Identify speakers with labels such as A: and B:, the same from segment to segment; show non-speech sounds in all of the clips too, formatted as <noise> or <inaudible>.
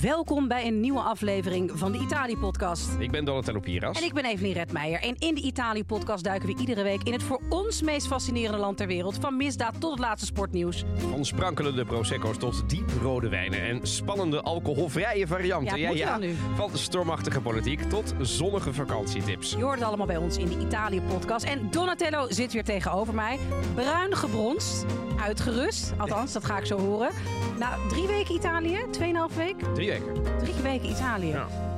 A: Welkom bij een nieuwe aflevering van de Italië-podcast.
B: Ik ben Donatello Piras.
A: En ik ben Evelien Redmeijer. En in de Italië-podcast duiken we iedere week in het voor ons meest fascinerende land ter wereld. Van misdaad tot het laatste sportnieuws.
B: Van sprankelende prosecco's tot dieprode wijnen en spannende alcoholvrije varianten.
A: Ja, moet je dan nu?
B: Van stormachtige politiek tot zonnige vakantietips.
A: Je hoort het allemaal bij ons in de Italië-podcast. En Donatello zit weer tegenover mij. Bruin gebronst, uitgerust. Althans, dat ga ik zo horen. Na drie weken Italië, tweeënhalf week,
B: Drie weken.
A: drie weken Italië.
B: Ja.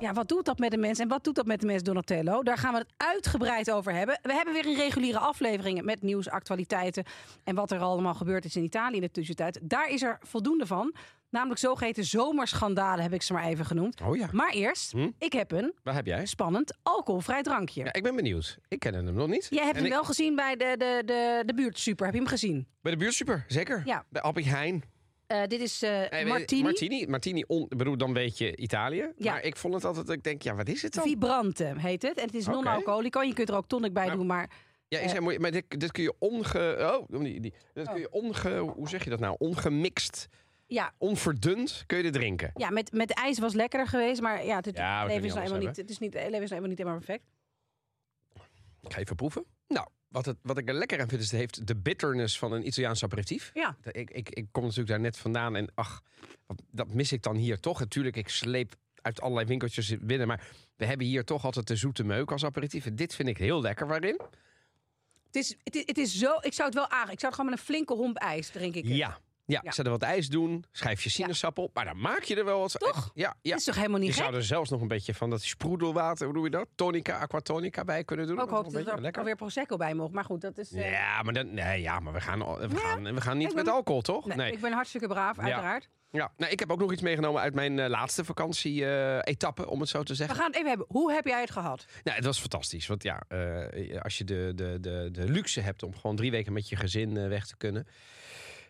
A: Ja, wat doet dat met de mens en wat doet dat met de mens Donatello? Daar gaan we het uitgebreid over hebben. We hebben weer een reguliere afleveringen met nieuws, actualiteiten en wat er allemaal gebeurd is in Italië in de tussentijd. Daar is er voldoende van. Namelijk zogeheten zomerschandalen heb ik ze maar even genoemd.
B: Oh ja.
A: Maar eerst, ik heb een
B: Waar heb jij?
A: spannend alcoholvrij drankje.
B: Ja, ik ben benieuwd. Ik ken hem nog niet.
A: Jij hebt
B: En
A: hem
B: ik-
A: wel gezien bij de, de, de, de buurtsuper. Heb je hem gezien?
B: Bij de buurtsuper, zeker.
A: Ja.
B: Bij Albert Heijn.
A: Eh, dit is eh,
B: Nee, weet-
A: Martini.
B: Martini. Martini on, ik bedoel, dan weet je Italië.
A: Ja.
B: Maar ik vond het altijd, ik denk, ja, wat is het dan?
A: Vibrante heet het. En het is
B: Oké.
A: non-alcoholico. Je kunt er ook tonic bij
B: Nou,
A: doen, maar
B: Ja, is hij mooi, maar dit, dit kun je onge... Oh, die, die, dit kun je onge... Hoe zeg je dat nou? Ongemixt,
A: ja,
B: onverdund kun je dit drinken.
A: Ja, met, met ijs was lekkerder geweest, maar ja, het,
B: Ja,
A: leven,
B: we kunnen
A: is nou
B: niet alles
A: helemaal niet,
B: hebben.
A: het is niet, het leven is nou helemaal niet helemaal perfect.
B: Ik ga even proeven. Nou, wat, het, wat ik er lekker aan vind, is het heeft de bitterness van een Italiaans aperitief.
A: Ja.
B: De- Ik, ik, ik kom natuurlijk daar net vandaan en ach, wat, dat mis ik dan hier toch. Natuurlijk, ik sleep uit allerlei winkeltjes binnen, maar we hebben hier toch altijd de zoete meuk als aperitief. En dit vind ik heel lekker waarin.
A: Het is, het, is, het is zo, ik zou het wel aan, ik zou het gewoon met een flinke romp ijs drinken.
B: Ja. Ja,
A: Ja.
B: ze er wat ijs doen, schrijf je sinaasappel, maar dan maak je er wel wat.
A: Toch?
B: Ja, ja.
A: Dat is toch helemaal
B: Je
A: niet gek?
B: zou er zelfs nog een beetje van dat sproedelwater, hoe doe je dat? Tonica, aquatonica bij kunnen doen.
A: Ook
B: is nog
A: hoop
B: een
A: dat
B: beetje
A: er
B: lekker.
A: alweer Prosecco bij mocht, maar goed, dat is... eh,
B: Ja, maar, dan, nee, ja, maar we, gaan, al- we, gaan, we gaan niet
A: ik
B: met
A: ben-
B: alcohol, toch?
A: nee, Ik ben hartstikke braaf, uiteraard.
B: Ja, nou, ik heb ook nog iets meegenomen uit mijn eh, laatste vakantie-etappe, om het zo te
A: We
B: zeggen.
A: gaan het even hebben. Hoe heb jij het gehad?
B: Nou, het was fantastisch. Want ja, eh, als je de, de, de, de luxe hebt om gewoon drie weken met je gezin eh, weg te kunnen.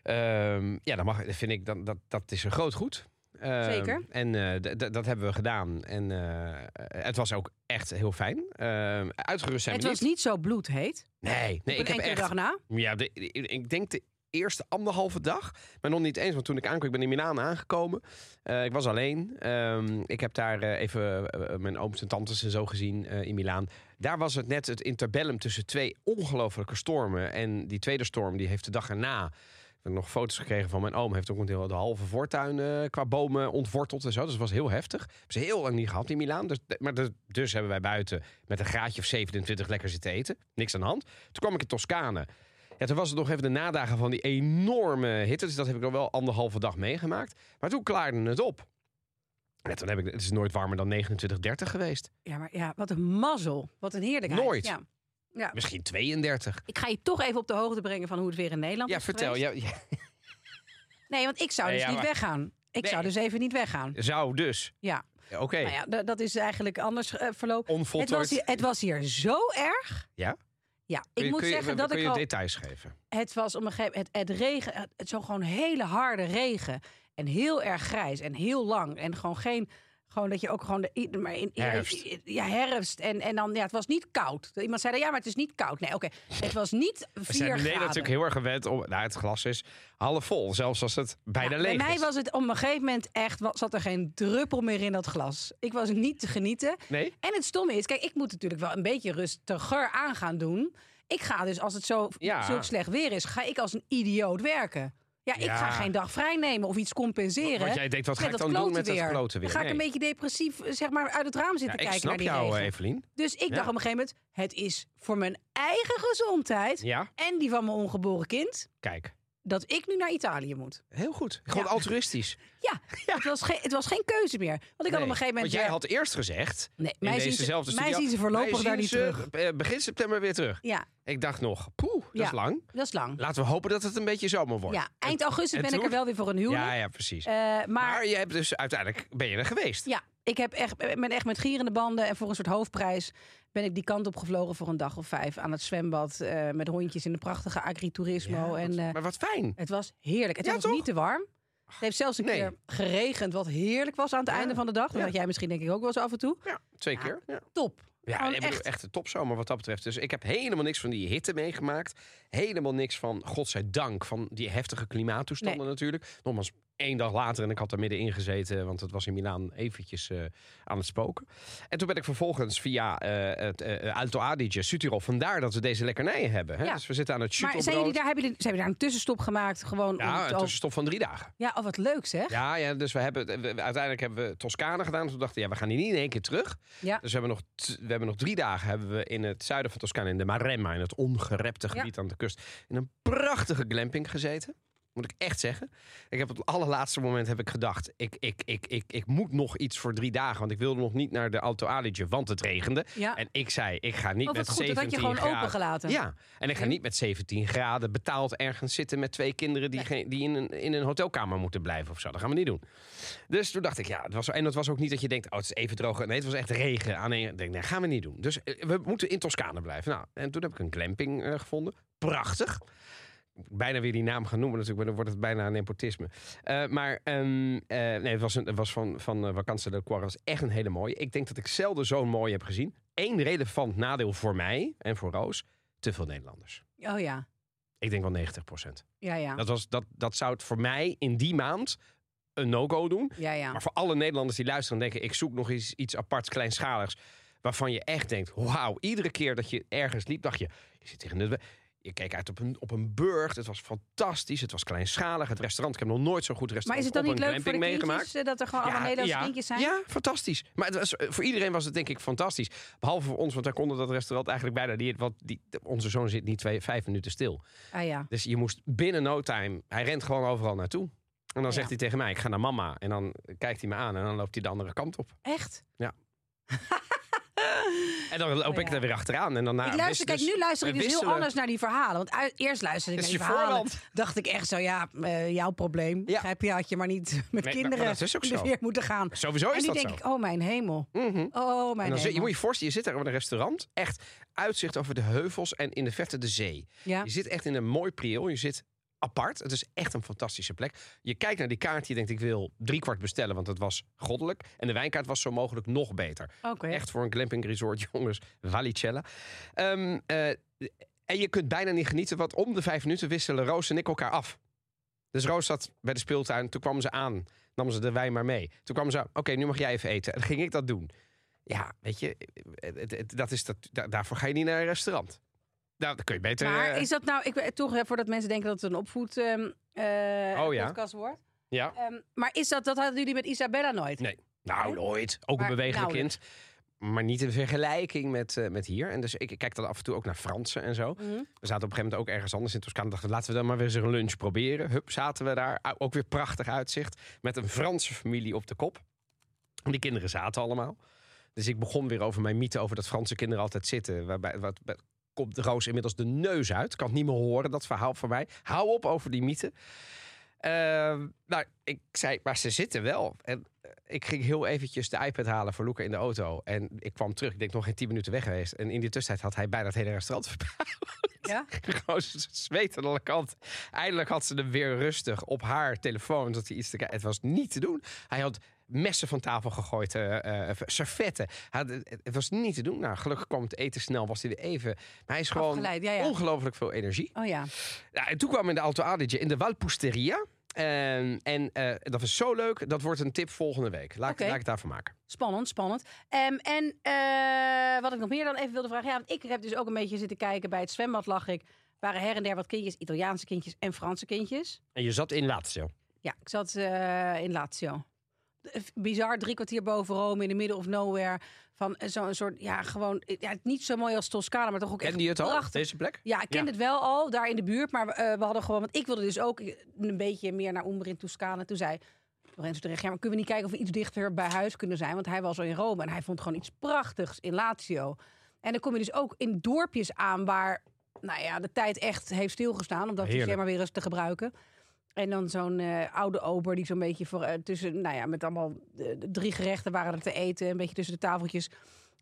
B: ehm, ja, dan mag, vind ik dan, dat, dat is een groot goed. Ehm,
A: Zeker.
B: En eh, d- d- dat hebben we gedaan. En eh, het was ook echt heel fijn. Ehm, uitgerust zijn
A: het
B: we
A: was niet zo bloedheet.
B: Nee, nee
A: Op
B: ik
A: een
B: heb
A: enkele
B: echt
A: dag na.
B: ja, de- de- ik denk de eerste anderhalve dag. Maar nog niet eens, want toen ik aankwam, ik ben in Milaan aangekomen. Eh, ik was alleen. Ehm, ik heb daar eh, even eh, mijn ooms en tantes en zo gezien eh, in Milaan. Daar was het net het interbellum tussen twee ongelofelijke stormen. En die tweede storm, die heeft de dag erna... Ik heb nog foto's gekregen van mijn oom. Heeft ook een deel de halve voortuin eh, qua bomen ontworteld en zo. Dus het was heel heftig. Hebben ze heel lang niet gehad in Milaan. Dus, maar dus, dus hebben wij buiten met een graadje of 27 lekker zitten eten. Niks aan de hand. Toen kwam ik in Toscane. Ja, toen was het nog even de nadagen van die enorme hitte. Dus dat heb ik nog wel anderhalve dag meegemaakt. Maar toen klaarde het op. Ja, toen heb ik, het is nooit warmer dan 29, 30 geweest.
A: Ja, maar ja, wat een mazzel. Wat een heerlijkheid.
B: Nooit.
A: Ja. Ja.
B: Misschien 32.
A: Ik ga je toch even op de hoogte brengen van hoe het weer in Nederland
B: Ja,
A: is
B: vertel.
A: geweest.
B: Ja, ja.
A: Nee, want ik zou
B: Nee,
A: dus
B: ja,
A: niet
B: maar-
A: weggaan. Ik
B: Nee.
A: zou dus even niet weggaan.
B: Zou dus.
A: Ja.
B: Ja, Oké.
A: Nou ja, da- dat is eigenlijk anders eh, verlopen. Het
B: Onvoltooid.
A: was, hier, het was hier zo erg.
B: Ja?
A: Ja, ik
B: Kun je-
A: moet
B: kun je,
A: zeggen dat
B: kun
A: ik
B: je
A: al...
B: details geven?
A: Het was om een gegeven moment... Het, het regen, het, het zo gewoon hele harde regen. En heel erg grijs en heel lang. En gewoon geen... Gewoon dat je ook gewoon... De, i- maar in, in-
B: Herfst.
A: i- ja, herfst. En, en dan, ja, het was niet koud. Iemand zei dan, ja, maar het is niet koud.
B: <laughs>
A: Nee, oké. Het was niet
B: We
A: vier
B: zijn in
A: graden.
B: Nederland natuurlijk heel erg gewend om... Nou, het glas is half vol. Zelfs als het bijna
A: Ja,
B: leeg
A: Nou, bij mij
B: is.
A: was het op een gegeven moment echt, wa- zat er geen druppel meer in dat glas. Ik was niet te genieten.
B: Nee?
A: En het stomme is, kijk, ik moet natuurlijk wel een beetje rustiger aan gaan doen. Ik ga dus, als het zo
B: Ja.
A: zulk slecht weer is, ga ik als een idioot werken. Ja, ik
B: Ja.
A: ga geen dag vrij nemen of iets compenseren.
B: Want jij denkt, wat ga
A: met
B: ik
A: dat
B: dan doen
A: klote
B: met dat klote
A: Dan
B: weer?
A: ga ik een
B: Nee.
A: beetje depressief, eh, zeg maar, uit het raam
B: Ja,
A: zitten
B: ik
A: kijken naar
B: snap
A: die
B: jou,
A: regen.
B: Evelien.
A: Dus ik
B: Ja.
A: dacht op een gegeven moment, het is voor mijn eigen gezondheid
B: Ja?
A: en die van mijn ongeboren kind,
B: Kijk.
A: dat ik nu naar Italië moet.
B: Heel goed. Gewoon
A: Ja.
B: altruïstisch.
A: Ja, Het, was geen, het was geen keuze meer. Want ik had op
B: Nee,
A: een gegeven moment
B: Want jij
A: weer-
B: had eerst gezegd.
A: Nee,
B: in
A: mij zien ze-
B: dezezelfde
A: mij
B: studio,
A: zien ze voorlopig daar
B: "Wij zien
A: niet
B: ze,
A: terug."
B: eh, Begin september weer terug.
A: Ja,
B: Ik dacht nog, poeh, dat
A: Ja.
B: is lang.
A: dat is lang.
B: Laten we hopen dat het een beetje zomer wordt.
A: Ja, eind augustus
B: en
A: ben ik er
B: toen?
A: wel weer voor een huwelijk.
B: ja, ja, precies.
A: Eh,
B: maar,
A: maar
B: je hebt dus uiteindelijk ben je er geweest.
A: ja, ik heb echt, ben echt met gierende banden en voor een soort hoofdprijs ben ik die kant op gevlogen voor een dag of vijf aan het zwembad eh, met hondjes in de prachtige
B: Ja,
A: agriturismo.
B: wat-
A: en, eh,
B: maar wat fijn.
A: het was heerlijk. Het
B: Ja,
A: was
B: toch?
A: niet te warm. Het heeft zelfs een
B: Nee.
A: keer geregend, wat heerlijk was aan het einde van de dag. Dat
B: Ja.
A: had jij misschien denk ik ook wel eens af en toe.
B: Ja, twee keer. Ja.
A: Top.
B: Ja,
A: Gewoon
B: ik bedoel,
A: echt.
B: echt een topzomer wat dat betreft. Dus ik heb helemaal niks van die hitte meegemaakt. Helemaal niks van, godzijdank, van die heftige klimaattoestanden
A: Nee.
B: natuurlijk. Nogmaals, één dag later en ik had er middenin gezeten, want het was in Milaan eventjes eh, aan het spoken. En toen ben ik vervolgens via eh, het eh, Alto Adige, Sutirol, vandaar dat we deze lekkernijen hebben. Hè?
A: Ja.
B: Dus we zitten aan het
A: Maar zijn jullie
B: Sutirol.
A: daar, hebben jullie, ze hebben daar een tussenstop gemaakt? Gewoon om
B: Ja,
A: het
B: een
A: over-
B: tussenstop van drie dagen.
A: ja, oh, wat leuk zeg. Ja.
B: Ja, ja dus we hebben, we- we- uiteindelijk hebben we Toscane gedaan. Toen dachten we, ja, we gaan hier niet in één keer terug. Dus we hebben, nog t- we hebben nog drie dagen hebben we in het zuiden van Toscane, in de Maremma, in het ongerepte gebied aan de kust, in een prachtige glamping gezeten. Moet ik echt zeggen. Ik heb op het allerlaatste moment heb ik gedacht, ik, ik, ik, ik, ik moet nog iets voor drie dagen, want ik wilde nog niet naar de Alto Adige, want het regende.
A: Ja.
B: En ik zei, ik ga niet
A: Oh,
B: met
A: wat Ah. goed. Dat
B: 17
A: had je gewoon
B: graden.
A: opengelaten.
B: Ja, en ik ga niet met 17 graden betaald ergens zitten met twee kinderen die, geen- die in, een, in een hotelkamer moeten blijven of zo. Dat gaan we niet doen. Dus toen dacht ik, ja, het was, en dat was ook niet dat je denkt, oh, het is even droog. Nee, het was echt regen. Aan een, ik denk, nee, gaan we niet doen. Dus eh, we moeten in Toscane blijven. Nou, en toen heb ik een glamping eh, gevonden. Prachtig. Bijna weer die naam gaan noemen natuurlijk, maar dan wordt het bijna een nepotisme. Eh, maar ehm, eh, nee, het was, een, het was van, van eh, Vacanza del Cuore. Het was echt een hele mooie. Ik denk dat ik zelden zo'n mooie heb gezien. Eén relevant nadeel voor mij en voor Roos, te veel Nederlanders.
A: Oh ja.
B: Ik denk wel 90 procent.
A: Ja, ja.
B: Dat, was- dat, dat zou het voor mij in die maand een no-go doen.
A: ja, ja.
B: Maar voor alle Nederlanders die luisteren en denken... ik zoek nog eens iets aparts, kleinschaligs... waarvan je echt denkt, wauw. Iedere keer dat je ergens liep, dacht je... je zit tegen de... Je keek uit op een, op een burg. Het was fantastisch. Het was kleinschalig. Het restaurant. Ik heb nog nooit zo'n goed
A: Maar
B: restaurant
A: is het dan
B: op
A: niet
B: een
A: leuk voor de
B: glamping meegemaakt.
A: kindjes eh, dat er gewoon allemaal Nederlandse
B: ja,
A: kindjes zijn?
B: Ja, fantastisch. Maar het was, voor iedereen was het denk ik fantastisch. Behalve voor ons, want wij konden dat restaurant eigenlijk bijna niet. Want die, onze zoon zit niet twee, vijf minuten stil.
A: Ah ja.
B: Dus je moest binnen no time. Hij rent gewoon overal naartoe. En dan
A: Ja.
B: zegt hij tegen mij: Ik ga naar mama. En dan kijkt hij me aan en dan loopt hij de andere kant op.
A: Echt? <laughs>
B: En dan loop
A: Oh,
B: ik
A: ja.
B: er weer achteraan. En dan na-
A: ik luister,
B: wist-
A: kijk,
B: dus-
A: nu luister ik
B: we
A: dus heel
B: wisselen.
A: anders naar die verhalen. Want ui- eerst luisterde ik
B: Dit
A: naar
B: is
A: die
B: je
A: verhalen. <laughs>
B: voorland.
A: Dacht ik echt zo, ja, eh, jouw probleem.
B: Ja.
A: Grijp je, had je maar niet <laughs> met
B: maar
A: kinderen
B: dat
A: <laughs>
B: is dus ook
A: in de
B: zo.
A: weer moeten gaan.
B: Sowieso
A: en
B: is
A: nu
B: dat
A: denk
B: zo.
A: ik, oh mijn hemel.
B: Mhm.
A: Oh
B: En
A: mijn
B: dan zit, je
A: hemel.
B: moet je voorstellen, je zit daar op een restaurant. Echt uitzicht over de heuvels en in de verte de zee.
A: Ja.
B: Je zit echt in een mooi prieel. Je zit apart. Het is echt een fantastische plek. Je kijkt naar die kaart. Je denkt, ik wil driekwart bestellen, want het was goddelijk. En de wijnkaart was zo mogelijk nog beter.
A: Oké.
B: Echt voor een glamping resort, <laughs> jongens. Valicella. Ehm, eh, en je kunt bijna niet genieten, want om de vijf minuten wisselen Roos en ik elkaar af. Dus Roos zat bij de speeltuin. Toen kwam ze aan. Nam ze de wijn maar mee. Toen kwam ze aan. Oké, nu mag jij even eten. En dan ging ik dat doen. Ja, weet je, eh, het- het- dat is dat, da- daarvoor ga je niet naar een restaurant. Nou, dan kun je beter.
A: Maar
B: eh,
A: is dat nou, ik, ben- toch eh, voordat mensen denken dat het een opvoed ehm, eh,
B: Oh ja.
A: podcast wordt.
B: ja.
A: Ehm, maar is dat, dat hadden jullie met Isabella nooit?
B: Nee. Nou, nooit. Ook
A: Maar
B: een bewegelijk kind.
A: nauwelijks.
B: Maar niet in vergelijking met, eh, met hier. En dus ik, ik kijk dan af en toe ook naar Fransen en zo.
A: Mhm.
B: We zaten op een gegeven moment ook ergens anders in Toscane. Dachten, we, laten we dan maar weer eens een lunch proberen. Hup, zaten we daar. Ah, Ook weer prachtig uitzicht. Met een Franse familie op de kop. Die kinderen zaten allemaal. Dus ik begon weer over mijn mythe over dat Franse kinderen altijd zitten. Waarbij, wat, wat- komt de roos inmiddels de neus uit. Kan het niet meer horen, dat verhaal van mij. Hou op over die mythe. Ehm, nou, ik zei, maar ze zitten wel. En eh, ik ging heel eventjes de iPad halen voor Luca in de auto. En ik kwam terug. Ik denk nog geen tien minuten weg geweest. En in die tussentijd had hij bijna het hele restaurant
A: Ja?
B: <laughs> gewoon z- zweet aan alle kanten. Eindelijk had ze hem weer rustig op haar telefoon. Dat hij iets te kijken. Het was niet te doen. Hij had messen van tafel gegooid, eh, eh, servetten. Hij had- het was niet te doen. Nou, gelukkig kwam het eten snel, was hij weer even. Maar hij is gewoon
A: Afgeleid, ja, ja.
B: ongelooflijk veel energie.
A: Oh ja.
B: Ja, en toen kwamen we in de Alto Adige, in de Walpusteria. En, en eh, dat was zo leuk. Dat wordt een tip volgende week. Laat, ik-
A: Oké.
B: laat ik het daarvan maken.
A: Spannend, spannend. Ehm, en eh, wat ik nog meer dan even wilde vragen. Ja, want ik heb dus ook een beetje zitten kijken bij het zwembad, lag ik. Waren her en der wat kindjes, Italiaanse kindjes en Franse kindjes.
B: En je zat in Lazio.
A: Ja, ik zat eh, in Lazio. Eh, Bizar, drie kwartier boven Rome, in de middle of nowhere. Van eh, zo'n soort, ja, gewoon, eh, ja, niet zo mooi als Toscane, maar toch ook echt
B: Kende je het al,
A: prachtig.
B: deze plek?
A: Ja, ik ken
B: Ja.
A: het wel al, daar in de buurt. Maar eh, we hadden gewoon... Want ik wilde dus ook een beetje meer naar Umber in Toscane. Toen zei Lorenzo terecht... Ja, maar kunnen we niet kijken of we iets dichter bij huis kunnen zijn? Want hij was al in Rome en hij vond gewoon iets prachtigs in Lazio. En dan kom je dus ook in dorpjes aan waar... Nou ja, de tijd echt heeft stilgestaan. Om dat
B: Heerlijk.
A: systeem maar weer eens te gebruiken. En dan zo'n eh, oude ober die zo'n beetje voor, eh, tussen... Nou ja, met allemaal eh, drie gerechten waren er te eten. Een beetje tussen de tafeltjes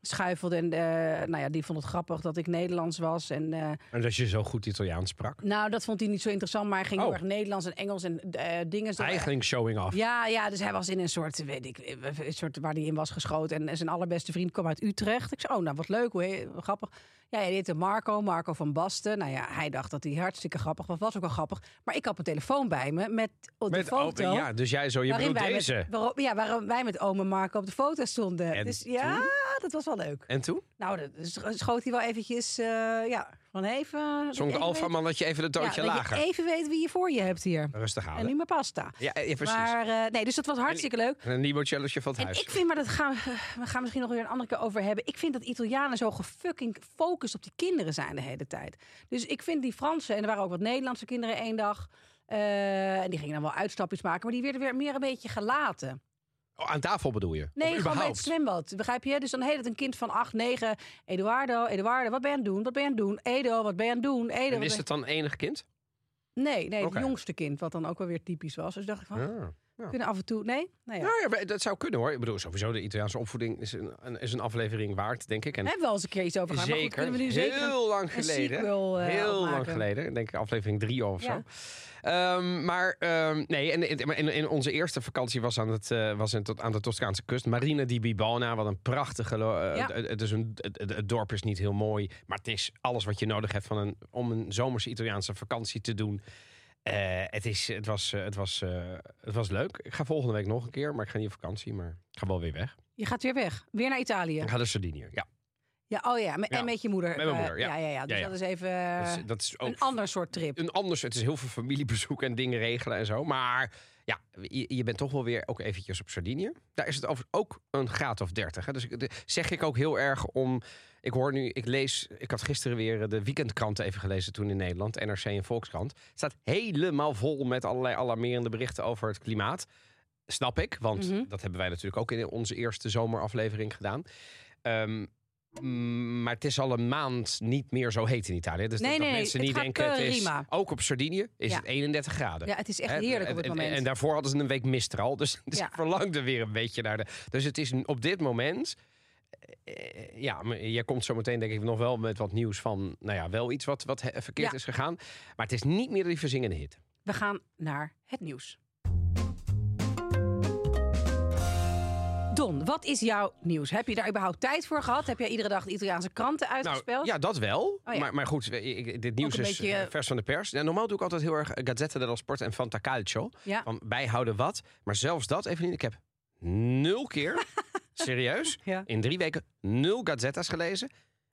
A: schuifelde. En eh, nou ja, die vond het grappig dat ik Nederlands was. En eh,
B: En dat je zo goed Italiaans sprak.
A: nou, dat vond hij niet zo interessant. Maar hij ging
B: Oh.
A: heel erg Nederlands en Engels en eh, dingen. zo-
B: Eigenlijk showing off.
A: Ja, ja, dus hij was in een soort, weet ik, een soort waar hij in was geschoten. En, zijn allerbeste vriend kwam uit Utrecht. Ik zei, oh, nou wat leuk, hoe he- wat grappig. Ja, hij heette Marco, Marco van Basten. Nou ja, hij dacht dat hij hartstikke grappig was. Was ook wel grappig. Maar ik had mijn telefoon bij me met de
B: Met, oh,
A: foto.
B: ja, dus jij zo, je
A: waarin
B: bedoelt
A: wij
B: deze.
A: Met, waarop- ja, waarom wij met ome Marco op de foto stonden.
B: En
A: dus ja, dat was wel leuk.
B: En toen?
A: Nou, dat dus schoot hij wel eventjes, eh, ja, van even...
B: Zong
A: even
B: de Alfa
A: weten-
B: man dat je even het
A: ja,
B: toontje
A: dat je
B: lager.
A: even weet wie je voor je hebt hier.
B: Rustig
A: En
B: houden.
A: nu mijn pasta.
B: Ja, ja, precies.
A: Maar eh, nee, dus dat was hartstikke leuk.
B: En een limoncello'sje van het
A: En
B: huis.
A: ik vind, maar dat gaan we, we gaan misschien nog weer een andere keer over hebben. Ik vind dat Italianen zo gefucking gefocust op die kinderen zijn de hele tijd. Dus ik vind die Fransen, en er waren ook wat Nederlandse kinderen één dag. eh, en die gingen dan wel uitstapjes maken, maar die werden weer meer een beetje gelaten.
B: Oh, aan tafel bedoel je?
A: Nee,
B: Of
A: gewoon bij het
B: überhaupt?
A: zwembad. Begrijp je? Dus dan heet het een kind van 8, 9. Eduardo, Eduardo, wat ben je aan het doen? Wat ben je aan het doen? Edo, wat ben je aan het doen? Edo,
B: En
A: wat
B: is
A: ben-
B: het dan enig kind?
A: Nee, nee,
B: Oké.
A: het jongste kind, wat dan ook wel weer typisch was. Dus dacht ik van,
B: Ja.
A: kunnen af en toe... Nee? Nou ja.
B: Ah. Nou ja, maar dat zou kunnen hoor. Ik bedoel, sowieso de Italiaanse opvoeding is een, een- is een aflevering waard, denk ik. En
A: Daar hebben we al eens een keer iets over gehad. Maar goed,
B: zeker,
A: kunnen we nu zeker een-
B: heel lang
A: een
B: geleden.
A: sequel, eh,
B: heel lang
A: opmaken.
B: geleden. Ik Denk ik aflevering drie of
A: Ja.
B: zo. Ehm, maar ehm, nee, en, en, en- en onze eerste vakantie was aan, het, eh, was in, tot, aan de Toscaanse kust. Marina di Bibona, wat een prachtige... lo- eh,
A: Ja.
B: het- het, is een, het, het- het dorp is niet heel mooi, maar het is alles wat je nodig hebt van een, om een zomerse Italiaanse vakantie te doen. Eh, het, is, het, was, eh, het, was, eh, het was leuk. Ik ga volgende week nog een keer, maar ik ga niet op vakantie. Maar ik ga wel weer weg.
A: Je gaat weer weg. Weer naar Italië.
B: Ik ga naar Sardinië. Ja,
A: Ja, oh ja. Met,
B: Ja.
A: En met je moeder.
B: Met mijn
A: Eh,
B: moeder, ja.
A: ja, ja, Dus
B: Ja, ja.
A: dat is even
B: dat,
A: eh,
B: is, dat is ook
A: een ander soort trip.
B: een anders. Het is heel veel familiebezoek en dingen regelen en zo. Maar ja, je, je bent toch wel weer ook eventjes op Sardinië. Daar is het over ook een graad of 30. Hè? Dus ik, de- zeg ik ook heel erg om. Ik hoor nu, ik lees. Ik had gisteren weer eh, de weekendkranten even gelezen toen in Nederland, NRC en Volkskrant. Het staat helemaal vol met allerlei alarmerende berichten over het klimaat. Snap ik, want
A: Mhm.
B: dat hebben wij natuurlijk ook in onze eerste zomeraflevering gedaan. Ehm, mm, maar het is al een maand niet meer zo heet in Italië. Dus
A: Nee,
B: dat, dat
A: nee, nee,
B: mensen
A: het
B: niet
A: gaat
B: denken, het
A: keurig
B: is,
A: prima.
B: ook op Sardinië is
A: Ja.
B: het 31 graden.
A: Ja, het is echt
B: Hè?
A: heerlijk op het
B: En-
A: moment.
B: En, en daarvoor hadden ze een week mist er al. Dus, dus
A: Ja.
B: <laughs> ik verlangde weer een beetje naar de... Dus het is een- op dit moment... eh, Ja, maar jij komt zo meteen denk ik nog wel met wat nieuws van... Nou ja, wel iets wat, wat he- verkeerd
A: Ja.
B: is gegaan. Maar het is niet meer die verzingende hitte.
A: We gaan naar het nieuws. Don, wat is jouw nieuws? Heb je daar überhaupt tijd voor gehad? Heb jij iedere dag de Italiaanse kranten uitgespeeld?
B: Nou, ja, dat wel.
A: Oh ja.
B: maar, maar goed, ik- ik- dit nieuws
A: Ook een
B: is
A: beetje,
B: eh,
A: eh,
B: vers van de pers. Ja, normaal doe ik altijd heel erg eh, Gazzetta dello Sport en Fanta Calcio.
A: Ja.
B: Van wij houden wat. Maar zelfs dat, Evelien, ik heb nul
A: <laughs>
B: keer, serieus,
A: Ja.
B: in drie weken nul Gazzetta's gelezen.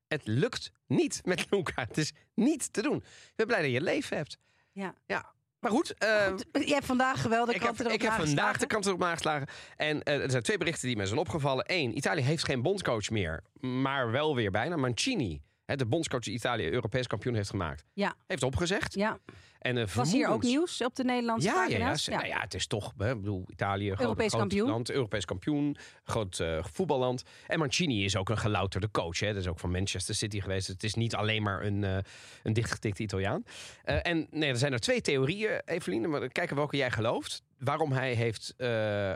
B: Het lukt niet met Luca. Het is niet te doen. Ik ben blij dat je leven hebt.
A: Ja.
B: ja. Maar goed, eh,
A: Je hebt vandaag wel de
B: ik heb,
A: kranten erop
B: ik heb vandaag de
A: nageslagen.
B: kant erop nageslagen. En eh, er zijn twee berichten die mij zijn opgevallen. Eén, Italië heeft geen bondscoach meer. Maar wel weer bijna. Mancini, hè, de bondscoach die Italië Europees kampioen heeft gemaakt.
A: Ja.
B: Heeft opgezegd.
A: Ja,
B: En, eh,
A: was hier ook
B: vermoedens-
A: nieuws op de Nederlandse
B: Ja, ja, ja,
A: pagina's?
B: ze- nou ja, het is toch, hè, ik bedoel, Italië, groot-
A: Europees
B: groot
A: kampioen.
B: land, Europees kampioen, groot eh, voetballand. En Mancini is ook een gelouterde coach, hè. dat is ook van Manchester City geweest. Het is niet alleen maar een, eh een dichtgetikte Italiaan. Eh, en nee, er zijn er twee theorieën, Eveline, maar kijken welke jij gelooft. Waarom hij, heeft, eh,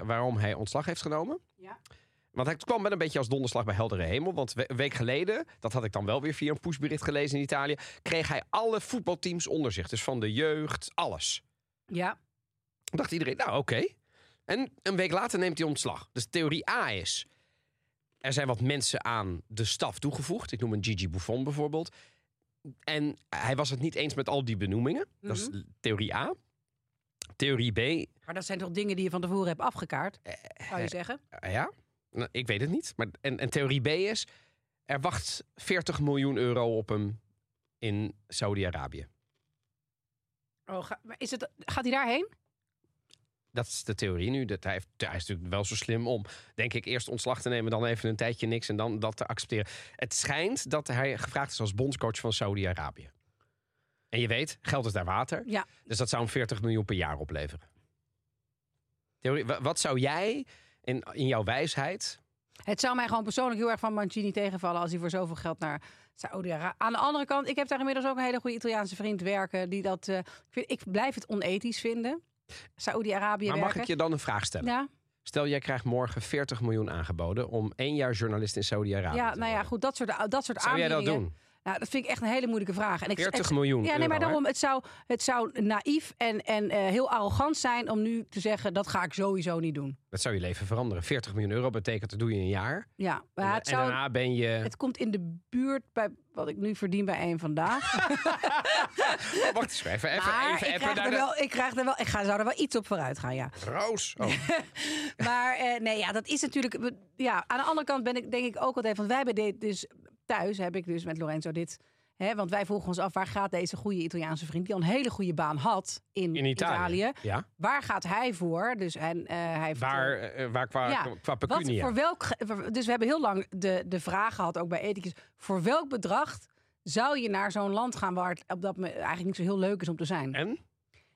B: waarom hij ontslag heeft genomen.
A: Ja.
B: Want hij kwam wel een beetje als donderslag bij heldere hemel. Want we- een week geleden, dat had ik dan wel weer via een pushbericht gelezen in Italië... kreeg hij alle voetbalteams onder zich. Dus van de jeugd, alles.
A: Ja.
B: Toen dacht iedereen, nou oké. En een week later neemt hij ontslag. Dus theorie A is, er zijn wat mensen aan de staf toegevoegd. Ik noem een Gigi Buffon bijvoorbeeld. En hij was het niet eens met al die benoemingen. Dat is theorie A. Theorie B, eh,
A: Maar dat zijn toch dingen die je van tevoren hebt afgekaart, zou je
B: eh,
A: zeggen?
B: ja, nou, ik weet het niet. Maar, en, en theorie B is, er wacht 40 miljoen euro op hem in Saudi-Arabië.
A: Oh, ga- maar is het, gaat hij daarheen?
B: Dat is de theorie nu. Dat hij, heeft, hij is natuurlijk wel zo slim om, denk ik, eerst ontslag te nemen, dan even een tijdje niks en dan dat te accepteren. Het schijnt dat hij gevraagd is als bondscoach van Saudi-Arabië. En je weet, geld is daar water.
A: Ja.
B: Dus dat zou hem 40 miljoen per jaar opleveren. Theorie, wa- wat zou jij in, in jouw wijsheid.
A: Het zou mij gewoon persoonlijk heel erg van Mancini tegenvallen als hij voor zoveel geld naar Saudi-Arabië. Aan de andere kant, ik heb daar inmiddels ook een hele goede Italiaanse vriend werken die dat. eh, ik, vind, ik blijf het onethisch vinden. Saudi-Arabië
B: Maar
A: werken.
B: mag ik je dan een vraag stellen?
A: Ja.
B: Stel, jij krijgt morgen 40 miljoen aangeboden om één jaar journalist in Saudi-Arabië
A: Ja,
B: te
A: nou ja,
B: worden.
A: goed, dat soort, dat soort
B: Zou jij dat
A: aanbiedingen-
B: doen?
A: Nou, dat vind ik echt een hele moeilijke vraag. En ik,
B: 40
A: ik-
B: miljoen
A: Ja, nee, maar
B: euro, hè?
A: daarom, het zou, het zou naïef en, en eh, heel arrogant zijn om nu te zeggen, dat ga ik sowieso niet doen.
B: Dat zou je leven veranderen. 40 miljoen euro betekent dat doe je in een jaar.
A: Ja, maar
B: en,
A: het
B: en
A: zou...
B: daarna ben je...
A: <laughs> Het komt in de buurt bij wat ik nu verdien bij één
B: <laughs>
A: vandaag.
B: Wacht eens even. Even,
A: maar
B: even,
A: ik,
B: even
A: krijg
B: naar
A: er
B: de-
A: wel, ik krijg er wel, ik ga, zou er wel iets op vooruit gaan, ja.
B: Roos. Oh,
A: Maar eh, nee, ja, dat is natuurlijk. we- Ja, aan de andere kant ben ik denk ik ook altijd. Want wij hebben dit dus thuis heb ik dus met Lorenzo dit. Hè, want wij vroegen ons af waar gaat deze goede Italiaanse vriend die al een hele goede baan had in, <laughs>
B: in Italië. Ja.
A: Waar gaat hij voor? Dus en eh, hij heeft,
B: Waar,
A: eh,
B: eh, waar qua,
A: Ja,
B: qua
A: wat
B: pecunia.
A: voor welk? ge- Dus we hebben heel lang de de vraag gehad ook bij ethicus. Voor welk bedrag zou je naar zo'n land gaan waar het op dat moment eigenlijk niet zo heel leuk is om te zijn?
B: En?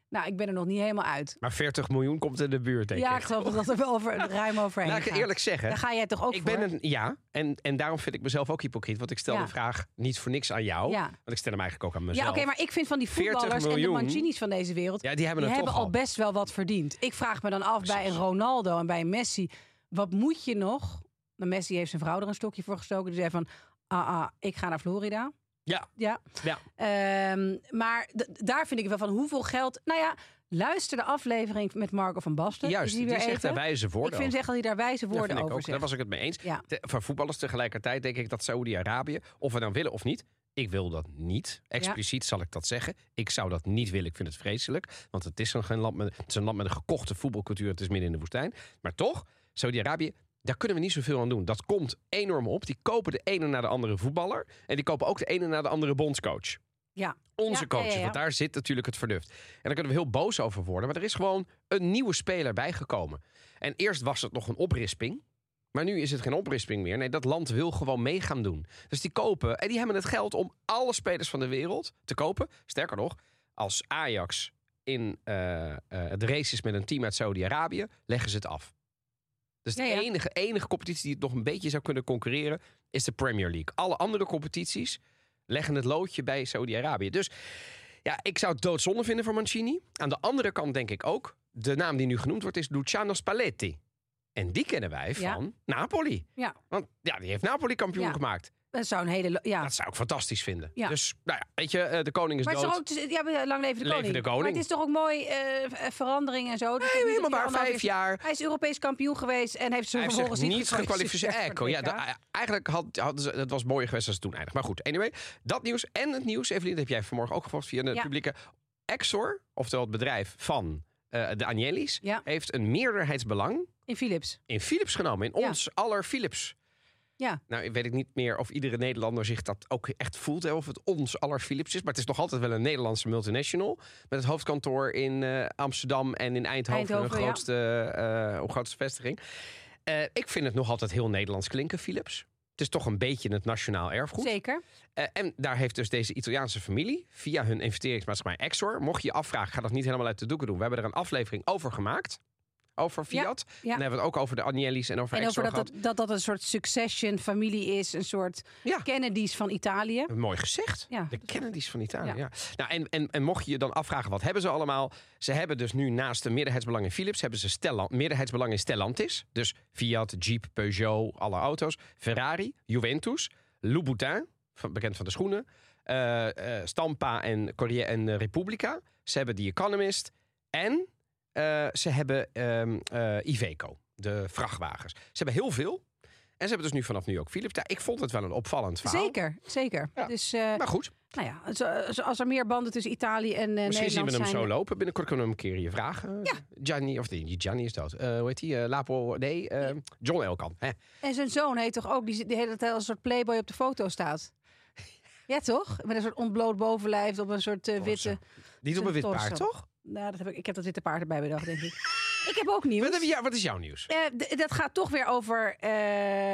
A: Nou, ik ben er nog niet helemaal uit.
B: Maar 40 miljoen komt in de buurt, denk
A: ja,
B: ik.
A: ik geloof dat er wel
B: <laughs>
A: over, ruim overheen
B: Laat ik
A: gaat.
B: eerlijk zeggen.
A: Daar ga jij toch ook
B: Ik
A: voor?
B: ben een, ja, en, en daarom vind ik mezelf ook hypocriet. Want ik stel
A: Ja.
B: de vraag niet voor niks aan jou.
A: Ja.
B: Want ik stel hem eigenlijk ook aan Oh, mezelf.
A: Ja, oké, maar ik vind van die
B: 40
A: voetballers en de
B: miljoen.
A: Mancini's van deze wereld...
B: Ja, die hebben
A: die
B: het
A: hebben
B: toch
A: al best wel wat verdiend. Ik vraag me dan af bij een Ronaldo en bij een Messi... wat moet je nog? Nou, Messi heeft zijn vrouw er een stokje voor gestoken. Die zei van, ah, ah ik ga naar Florida.
B: Ja.
A: Ja.
B: Ja.
A: Ehm, maar d- daar vind ik wel van hoeveel geld... Nou ja, luister de aflevering met Marco van Basten. Is
B: Juist,
A: die
B: die,
A: weer
B: zegt
A: even?
B: daar wijze
A: Ik
B: woorden
A: vind
B: over.
A: echt dat hij daar wijze
B: Ja,
A: woorden
B: vind ik
A: over
B: ook. Daar
A: zegt.
B: was ik het mee eens.
A: Ja.
B: Te- voor voetballers tegelijkertijd denk ik dat Saoedi-Arabië, of we dan willen of niet, ik wil dat niet. Expliciet zal ik dat zeggen. Ik zou dat niet willen. Ik vind het vreselijk. Want het is nog geen land met, het is een land met een gekochte voetbalcultuur. Het is midden in de woestijn. Maar toch, Saoedi-Arabië, daar kunnen we niet zoveel aan doen. Dat komt enorm op. Die kopen de ene na de andere voetballer. En die kopen ook de ene na de andere bondscoach.
A: Ja. Ja,
B: Onze
A: ja,
B: coaches,
A: ja, ja.
B: want daar zit natuurlijk het vernuft. En daar kunnen we heel boos over worden. Maar er is gewoon een nieuwe speler bijgekomen. En eerst was het nog een oprisping. Maar nu is het geen oprisping meer. Nee, dat land wil gewoon mee gaan doen. Dus die kopen, en die hebben het geld om alle spelers van de wereld te kopen. Sterker nog, als Ajax in eh, eh, het race is met een team uit Saudi-Arabië, leggen ze het af. Dus
A: Ja, ja.
B: de enige, enige competitie die het nog een beetje zou kunnen concurreren, is de Premier League. Alle andere competities leggen het loodje bij Saudi-Arabië. Dus ja, ik zou het doodzonde vinden voor Mancini. Aan de andere kant denk ik ook, de naam die nu genoemd wordt is Luciano Spalletti. En die kennen wij
A: Ja.
B: van Napoli.
A: Ja.
B: Want ja, die heeft Napoli kampioen
A: Ja.
B: gemaakt.
A: Dat zou een hele... lo- Ja.
B: Dat zou ik fantastisch vinden.
A: Ja.
B: Dus nou ja, weet je, eh, de koning is
A: Maar het
B: dood.
A: is toch ook, dus- ja, lang leven de
B: Leven
A: koning.
B: de koning.
A: Maar het is toch ook mooi eh, v- eh, verandering en zo. Dus het is niet
B: Helemaal
A: dat hij
B: waar,
A: allemaal
B: vijf
A: weer-
B: jaar.
A: Hij is Europees kampioen geweest en heeft ze
B: Hij heeft zich
A: vervolgens
B: niet gekwalificeerd.
A: voor
B: Echo,
A: het
B: ja,
A: WK.
B: da- eigenlijk had, hadden ze, dat was mooier geweest als het toen eindigde. Maar goed, anyway, dat nieuws en het nieuws, Evelien, dat heb jij vanmorgen ook gevolgd via de
A: Ja.
B: publieke. Exor, oftewel het bedrijf van eh, de Agnelli's,
A: Ja.
B: heeft een meerderheidsbelang
A: in Philips.
B: in Philips genomen. In
A: Ja.
B: ons aller Philips.
A: Ja.
B: Nou, weet ik niet meer of iedere Nederlander zich dat ook echt voelt. Hè, of het ons aller Philips is. Maar het is nog altijd wel een Nederlandse multinational. Met het hoofdkantoor in eh, Amsterdam en in Eindhoven. de
A: Eindhoven, ja.
B: grootste, eh, hoe grootste vestiging. Eh, ik vind het nog altijd heel Nederlands klinken, Philips. Het is toch een beetje het nationaal erfgoed.
A: Zeker.
B: Eh, en daar heeft dus deze Italiaanse familie via hun investeringsmaatschappij Exor. Mocht je je afvragen, ga dat niet helemaal uit de doeken doen. We hebben er een aflevering over gemaakt. Over
A: Ja,
B: Fiat.
A: ja.
B: En dan hebben we het ook over de Agnelli's en over
A: en
B: Exor
A: over dat
B: gehad.
A: dat, dat dat een soort succession familie is. Een soort
B: Ja.
A: Kennedy's van Italië.
B: Mooi gezegd.
A: Ja.
B: De Kennedys van Italië.
A: Ja.
B: Ja. Nou, en, en, en mocht je je dan afvragen, wat hebben ze allemaal? Ze hebben dus nu naast de meerderheidsbelang in Philips... hebben ze Stellan, meerderheidsbelang in Stellantis. Dus Fiat, Jeep, Peugeot, alle auto's. Ferrari, Juventus, Louboutin, van, bekend van de schoenen. eh, eh, Stampa en, Corriere en eh, Repubblica. Ze hebben The Economist. En eh, ze hebben ehm, eh, Iveco, de vrachtwagens. Ze hebben heel veel. En ze hebben dus nu vanaf nu ook Philips. Ja, ik vond het wel een opvallend verhaal.
A: Zeker, zeker.
B: Ja.
A: Dus eh,
B: Maar goed.
A: nou ja, zo- zo- als er meer banden tussen Italië en eh,
B: Misschien
A: Nederland
B: zien we hem
A: zijn.
B: zo lopen. Binnenkort kunnen we hem een keer hier vragen.
A: Ja.
B: Gianni, of nee, niet Gianni is dood. Eh, hoe heet hij? Lapo, nee, eh, John Elkan. Hè?
A: En zijn zoon heet toch ook, die zit de hele tijd als een soort playboy op de foto staat. <laughs> Ja, toch? Met een soort ontbloot bovenlijf op een soort eh, witte...
B: Niet op een wit
A: Torso.
B: paard, toch?
A: Nou, dat heb ik, ik heb dat witte paard erbij bedacht, denk ik. ik
B: <laughs>
A: heb ook nieuws.
B: Wat, heb je- ja, wat is jouw nieuws?
A: Eh, d- dat gaat toch weer over. eh,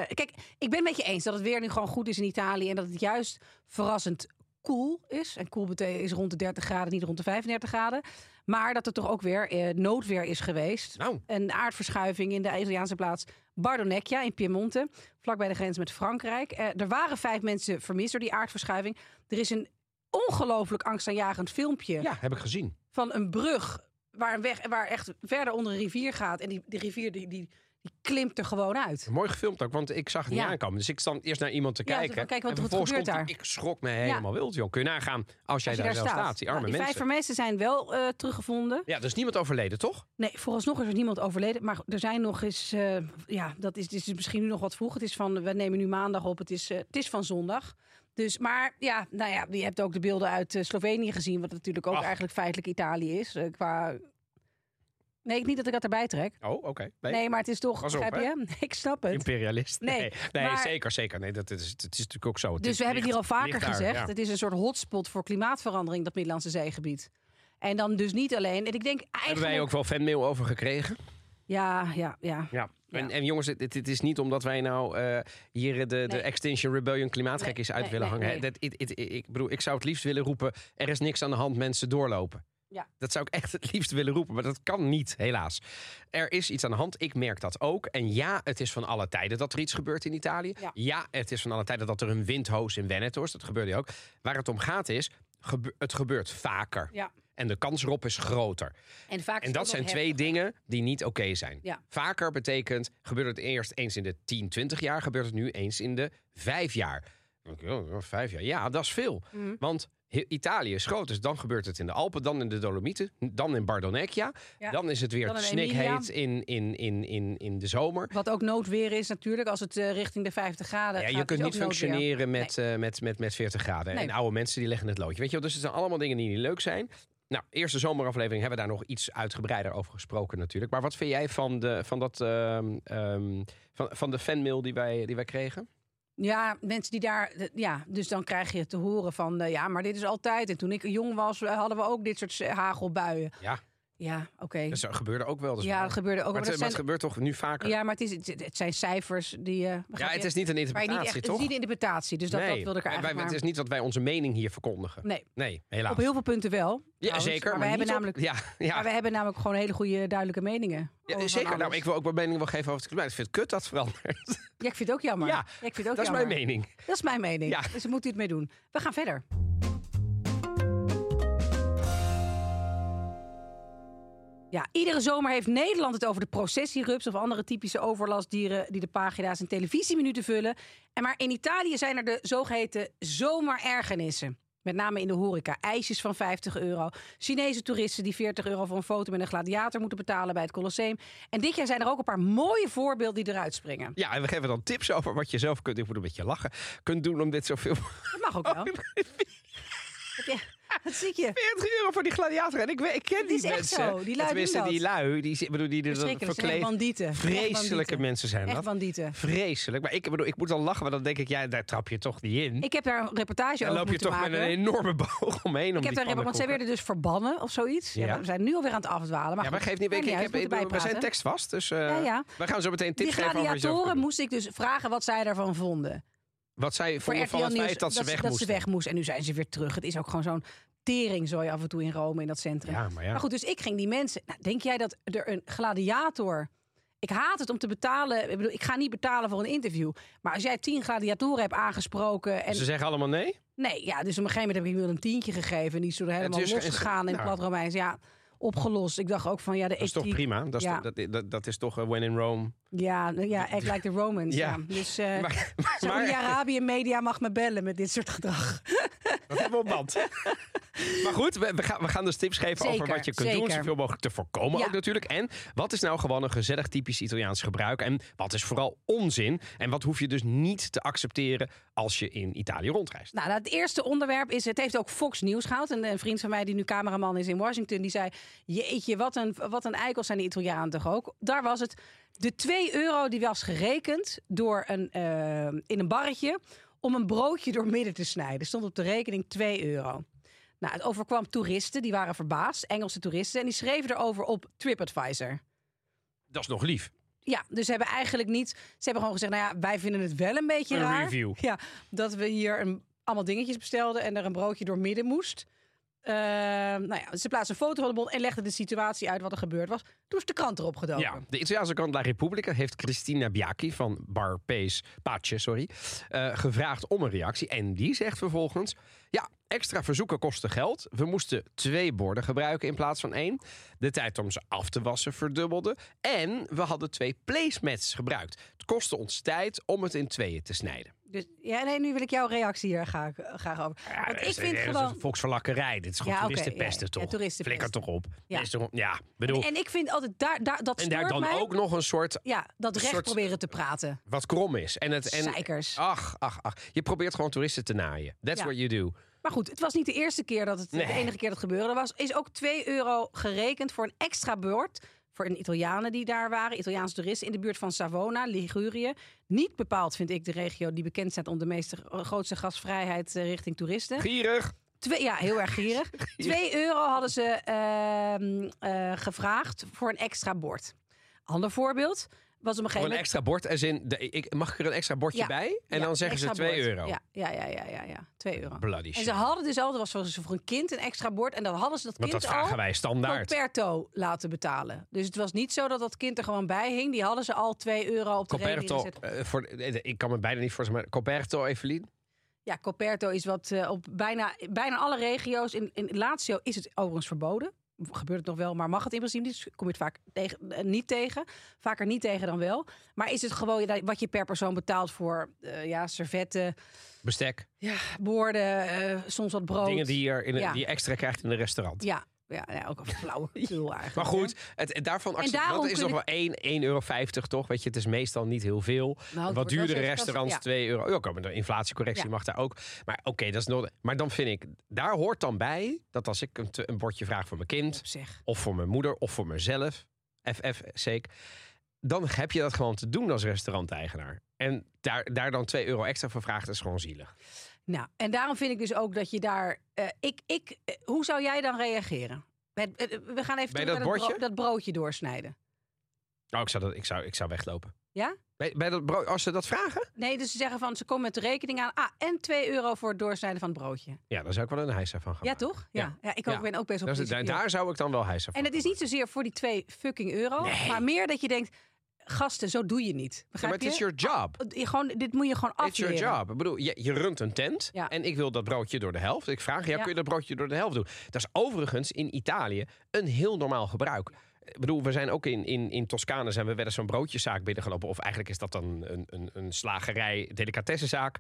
A: kijk, ik ben het met je eens dat het weer nu gewoon goed is in Italië. En dat het juist verrassend koel is. En koel betekent is rond de 30 graden, niet rond de 35 graden. Maar dat er toch ook weer eh, noodweer is geweest.
B: Nou,
A: Een aardverschuiving in de Italiaanse plaats Bardonecchia in Piemonte. Vlakbij de grens met Frankrijk. Eh, er waren vijf mensen vermist door die aardverschuiving. Er is een ongelooflijk angstaanjagend filmpje
B: ja, heb ik gezien.
A: van een brug waar een weg waar echt verder onder een rivier gaat. En die, die rivier die, die, die klimt er gewoon uit.
B: Mooi gefilmd ook, want ik zag het
A: Ja.
B: niet aankomen. Dus ik stond eerst naar iemand te
A: Ja,
B: kijken.
A: van, kijk, wat-
B: en
A: wat
B: vervolgens
A: gebeurt
B: komt die- Ik schrok me helemaal wild, joh. Kun je nagaan als jij
A: Als je
B: daar zelf staat. Die arme
A: Ja, die vijf
B: mensen.
A: vermeesten zijn wel eh, teruggevonden.
B: Ja, er is niemand overleden, toch?
A: Nee, vooralsnog is er niemand overleden. Maar er zijn nog eens... eh, ja, dat is, dit is misschien nu nog wat vroeg. Het is van, we nemen nu maandag op. Het is, eh, het is van zondag. Dus, maar ja, nou ja, je hebt ook de beelden uit eh, Slovenië gezien. Wat natuurlijk ook
B: Ach.
A: eigenlijk feitelijk Italië is. eh, qua... Nee, niet dat ik dat erbij trek.
B: Oh, oké. Nee.
A: Nee, maar het is toch...
B: Pas op,
A: begrijp
B: hè?
A: je? <laughs> Ik snap het.
B: Imperialist.
A: Nee,
B: Nee, nee
A: maar-
B: zeker, zeker. Nee, dat is, het is natuurlijk ook zo. Het
A: Dus
B: is-
A: we hebben het hier
B: ligt-
A: al vaker
B: ligt daar,
A: gezegd.
B: ja.
A: Het is een soort hotspot voor klimaatverandering, dat Middellandse zeegebied. En dan dus niet alleen. En ik denk
B: Hebben
A: eigenlijk.
B: wij ook wel fanmail over gekregen?
A: Ja, ja, ja.
B: Ja.
A: Ja.
B: En, en jongens, het, het is niet omdat wij nou eh, hier de,
A: Nee.
B: de Extinction Rebellion klimaatgek is uit
A: nee,
B: willen
A: nee,
B: hangen. hè.
A: nee.
B: Dat, it- it- ik bedoel, ik zou het liefst willen roepen: er is niks aan de hand, mensen doorlopen.
A: Ja.
B: Dat zou ik echt het liefst willen roepen, maar dat kan niet, helaas. Er is iets aan de hand, ik merk dat ook. En ja, het is van alle tijden dat er iets gebeurt in Italië.
A: Ja.
B: Ja, het is van alle tijden dat er een windhoos in Veneto is. Dat gebeurde ook. Waar het om gaat is, gebe- het gebeurt vaker.
A: Ja.
B: En de kans erop is groter.
A: En, vaak
B: En dat zijn twee dingen die niet oké zijn.
A: Ja.
B: Vaker betekent, gebeurt het eerst eens in de 10, 20 jaar, gebeurt het nu eens in de 5 jaar. Dan denk ik, oh, oh, Vijf jaar, ja, dat is veel.
A: Mhm.
B: Want he- Italië is groot, dus dan gebeurt het in de Alpen, dan in de Dolomieten, dan in Bardonecchia.
A: Ja.
B: Dan is het weer
A: Dan in
B: snikheet in, in, in, in, in de zomer.
A: Wat ook noodweer is natuurlijk, als het eh, richting de 50 graden
B: Ja,
A: gaat.
B: je
A: is
B: kunt
A: ook
B: niet
A: noodweer.
B: functioneren met, eh, met, met, met 40 graden.
A: Nee.
B: En oude mensen die leggen het loodje. Weet je wel, dus het zijn allemaal dingen die niet leuk zijn. Nou, eerste zomeraflevering hebben we daar nog iets uitgebreider over gesproken natuurlijk. Maar wat vind jij van, de, van, dat, ehm, ehm, van, van de fanmail die wij, die wij kregen?
A: Ja, mensen die daar. d- Ja, dus dan krijg je te horen van. eh, ja, maar dit is altijd. En toen ik jong was, eh, hadden we ook dit soort eh, hagelbuien.
B: Ja,
A: Ja, oké.
B: dat zou- gebeurde ook wel. Dus
A: ja, dat gebeurde ook. Maar
B: maar het,
A: dat zijn,
B: maar het gebeurt toch nu vaker? Ja,
A: ja, maar het, is, het, het zijn cijfers die. eh, begrijp je?
B: het is niet een
A: Waar je
B: interpretatie,
A: niet echt, het
B: toch?
A: is niet een interpretatie, dus dat,
B: Nee.
A: dat wilde ik er
B: Wij-
A: eigenlijk
B: wij-
A: maar-
B: Het is niet dat wij onze mening hier verkondigen.
A: Nee,
B: Nee, helaas.
A: op heel veel punten wel.
B: ja,
A: trouwens.
B: zeker.
A: Maar, we hebben
B: niet op-
A: namelijk,
B: Ja, ja.
A: maar we hebben namelijk gewoon hele goede duidelijke meningen.
B: Ja,
A: over van
B: zeker. Nou,
A: alles.
B: ik wil ook mijn mening wel geven over het klimaat. Ik vind het kut dat het verandert.
A: Ja, ik vind het ook jammer.
B: Ja,
A: ik vind het ook
B: dat is
A: jammer.
B: mijn mening.
A: Dat is mijn mening.
B: Ja.
A: Dus daar moet u het mee doen. We gaan verder. Ja, iedere zomer heeft Nederland het over de processierups of andere typische overlastdieren die de pagina's en televisieminuten vullen. En maar in Italië zijn er de zogeheten zomerergernissen. Met name in de horeca. IJsjes van 50 euro. Chinese toeristen die 40 euro voor een foto met een gladiator moeten betalen bij het Colosseum. En dit jaar zijn er ook een paar mooie voorbeelden die eruit springen.
B: Ja, en we geven dan tips over wat je zelf kunt. Ik moet een beetje lachen. Kunt doen om dit zoveel.
A: Dat mag
B: Oh, <laughs>
A: ook wel. Heb je- Wat zie ik je?
B: 40 euro voor die gladiator. En ik, weet- ik ken die
A: is echt
B: mensen.
A: zo. Die lui doen
B: Tenminste,
A: dat.
B: die lui. Die, zi- bedoel, die er dan
A: Verschrikkelijk. Het zijn echt
B: verkleed.
A: bandieten. Echt
B: Vreselijke
A: bandieten.
B: mensen zijn
A: Echt
B: dat.
A: bandieten.
B: Vreselijk. Maar ik bedoel, ik moet dan lachen. Maar dan denk ik, ja, daar trap je toch niet in.
A: Ik heb daar een reportage
B: dan
A: over
B: loop je
A: moeten
B: toch
A: maken.
B: met een enorme boog omheen. Om
A: ik heb daar een, want zij werden dus verbannen of zoiets. Ja.
B: Ja.
A: we zijn nu alweer aan het afdwalen. Maar
B: Ja, maar
A: goed,
B: geef niet. Ik,
A: maakt
B: ik
A: uit,
B: heb,
A: we
B: ik,
A: moeten
B: bedoel, we zijn
A: bijpraten.
B: tekst vast. Dus eh,
A: Ja, ja.
B: we gaan zo meteen
A: Die
B: tips geven over jezelf.
A: gladiatoren moest ik dus vragen wat zij daarvan vonden.
B: Wat zij
A: Voor
B: vonden
A: RTL
B: van het
A: Nieuws
B: feit dat ze weg
A: dat ze
B: moesten.
A: weg moest. En nu zijn ze weer terug. Het is ook gewoon zo'n teringzooi af en toe in Rome in dat centrum.
B: Ja, maar ja.
A: Maar goed, dus ik ging die mensen. Nou, denk jij dat er een gladiator. Ik haat het om te betalen. Ik bedoel, ik ga niet betalen voor een interview. Maar als jij tien gladiatoren hebt aangesproken. En
B: Dus Ze zeggen allemaal nee?
A: nee, ja, dus op een gegeven moment heb ik iemand een tientje gegeven. En die is toen helemaal
B: is-
A: losgegaan in
B: nou.
A: plat Romeins. Ja, opgelost. Ik dacht ook van ja, de
B: Dat is toch
A: ethiek-
B: prima? Dat is,
A: Ja.
B: toch- dat, dat, dat is toch eh, when in
A: <laughs>
B: Rome.
A: Ja, nou ja, act like the Romans. ja.
B: Ja.
A: Dus eh
B: Maar- <laughs> maar-
A: Saudi-Arabië Media mag me bellen met dit soort gedrag.
B: Dat hebben we op
A: <laughs>
B: band. maar goed, we, we, gaan, we gaan dus tips geven
A: Zeker,
B: over wat je kunt doen.
A: zeker.
B: Zoveel mogelijk te voorkomen
A: Ja.
B: ook natuurlijk. En wat is nou gewoon een gezellig typisch Italiaans gebruik? En wat is vooral onzin? En wat hoef je dus niet te accepteren als je in Italië rondreist?
A: Nou, nou, het eerste onderwerp is, het heeft ook Fox News gehaald. Een, een vriend van mij die nu cameraman is in Washington, die zei... Jeetje, wat een, wat een eikel zijn die Italianen toch ook. Daar was het. De 2 euro die was gerekend door een, eh, in een barretje om een broodje door midden te snijden. Stond op de rekening 2 euro. Nou, het overkwam toeristen, die waren verbaasd, Engelse toeristen. En die schreven erover op TripAdvisor.
B: Dat is nog lief.
A: Ja, dus ze hebben eigenlijk niet. Ze hebben gewoon gezegd: nou ja, wij vinden het wel een beetje
B: Een
A: raar. <laughs>
B: review.
A: Ja, dat we hier een, allemaal dingetjes bestelden en er een broodje door midden moest. Eh, Eh, nou ja, ze plaatste een foto van de bond en legde de situatie uit wat er gebeurd was. Toen is de krant erop gedoken.
B: Ja, de Italiaanse krant La Repubblica heeft Cristina Biacchi van Bar Pace, Pace sorry, eh, gevraagd om een reactie. En die zegt vervolgens: Ja, extra verzoeken kosten geld. We moesten twee borden gebruiken in plaats van één. De tijd om ze af te wassen verdubbelde. En we hadden twee placemats gebruikt. Het kostte ons tijd om het in tweeën te snijden.
A: Dus, ja, nee, nu wil ik jouw reactie hier graag, graag over. Want
B: dit
A: ik
B: is-
A: vind
B: dit is
A: gewoon...
B: een Volksverlakkerij. Dit is gewoon
A: Ja, oké,
B: toeristenpesten,
A: ja, ja,
B: toch?
A: toeristenpest.
B: Flikker toch op.
A: Ja.
B: Dit is toch- ja, bedoel. En,
A: En ik vind altijd, daar, daar, dat stoort
B: daar dan
A: mij.
B: ook nog een soort
A: Ja, dat
B: een
A: recht
B: soort-
A: proberen te praten.
B: wat krom is. En het, en,
A: Zeikers.
B: Ach, ach, ach. Je probeert gewoon toeristen te naaien. That's
A: Ja.
B: what you
A: <laughs>
B: do.
A: Maar goed, het was niet de eerste keer dat het de
B: Nee.
A: enige keer dat het gebeurde was. Is ook 2 euro gerekend voor een extra beurt. Voor een Italianen die daar waren, Italiaanse toeristen in de buurt van Savona, Ligurië. Niet bepaald vind ik de regio die bekend staat om de meeste, eh, grootste gasvrijheid eh, richting toeristen.
B: Gierig.
A: Twee, ja, heel erg
B: <laughs>
A: gierig. 2 euro hadden ze ehm, eh, gevraagd voor een extra bord. Ander voorbeeld was op een
B: Voor
A: gegeven
B: een
A: moment.
B: extra bord. Als in, de, ik, mag ik er een extra bordje
A: Ja.
B: bij? En
A: Ja,
B: dan zeggen ze
A: extra
B: 2
A: bord.
B: euro.
A: Ja, ja, ja, ja, ja, ja. 2 euro.
B: Bloody
A: En
B: shit.
A: ze hadden dus al, er was voor, voor een kind een extra bord. En dan hadden ze dat
B: Want
A: kind
B: dat vragen
A: al
B: wij
A: per
B: standaard.
A: Coperto laten betalen. Dus het was niet zo dat dat kind er gewoon bij hing. Die hadden ze al 2 euro op de rekening
B: Coperto,
A: gezet.
B: eh, voor, eh, ik kan me bijna niet voorstellen, maar Coperto, Evelien.
A: Ja, Coperto is wat eh, op bijna, bijna alle regio's. In, in Lazio is het overigens verboden. Gebeurt het nog wel, maar mag het in principe niet. Dus Kom je het vaak tegen, eh, niet tegen. Vaker niet tegen dan wel. Maar is het gewoon dat- wat je per persoon betaalt voor eh, ja, servetten,
B: Bestek.
A: ja, borden, eh, soms wat brood.
B: Dingen die je, in een-
A: Ja.
B: die je extra krijgt in een restaurant.
A: Ja, ja, ja ook een
B: <laughs>
A: flauwe eigenlijk.
B: Maar
A: hè?
B: goed, het, het daarvan accepteer-
A: daarom
B: dat is
A: kunnen-
B: nog wel 1, 1,50 euro toch? Weet je, het is meestal niet heel veel.
A: Nou, het
B: Wat
A: wordt wel
B: duurdere
A: steeds
B: restaurants,
A: krasser,
B: 2 euro. Ja, oké, maar de inflatiecorrectie
A: Ja.
B: mag daar ook. Maar oké, dat is nog. Maar dan vind ik, daar hoort dan bij dat als ik een, te- een bordje vraag voor mijn kind,
A: Op zich.
B: of voor mijn moeder, of voor mezelf, FF zeker, dan heb je dat gewoon te doen als restauranteigenaar. En daar, daar dan 2 euro extra voor vraagt, is gewoon zielig.
A: Nou, en daarom vind ik dus ook dat je daar. eh, ik, ik, eh, hoe zou jij dan reageren? Met- eh, we gaan even
B: Bij
A: terug
B: dat
A: naar bro-
B: bordje?
A: dat broodje doorsnijden.
B: Oh, ik zou, dat, ik zou, ik zou weglopen.
A: Ja?
B: Bij, bij dat brood, als ze dat vragen?
A: Nee, dus ze zeggen van ze komen met de rekening aan. Ah, en 2 euro voor het doorsnijden van het broodje.
B: Ja, dan zou ik wel een hijsa van gaan
A: Ja,
B: maken.
A: toch? Ja, ja.
B: Ja.
A: ik ook,
B: Ja.
A: ben ook best wel
B: Dat is- daar, daar zou ik dan wel hijsa van
A: En het is
B: gaan
A: niet zozeer voor die 2 fucking euro,
B: Nee.
A: maar meer dat je denkt: gasten, zo doe je niet.
B: Ja, maar
A: Begrijp
B: het is
A: je?
B: your job.
A: Je gewoon, dit moet je gewoon
B: It's your
A: afleren.
B: job. Ik bedoel, je, je runt een tent
A: Ja.
B: en ik wil dat broodje door de helft. Ik vraag, ja,
A: Ja.
B: kun je dat broodje door de helft doen? Dat is overigens in Italië een heel normaal gebruik. Ik bedoel, we zijn ook in, in, in Toscane zijn we wel eens zo'n broodjeszaak binnengelopen. Of eigenlijk is dat dan een, een, een slagerij, delicatessenzaak.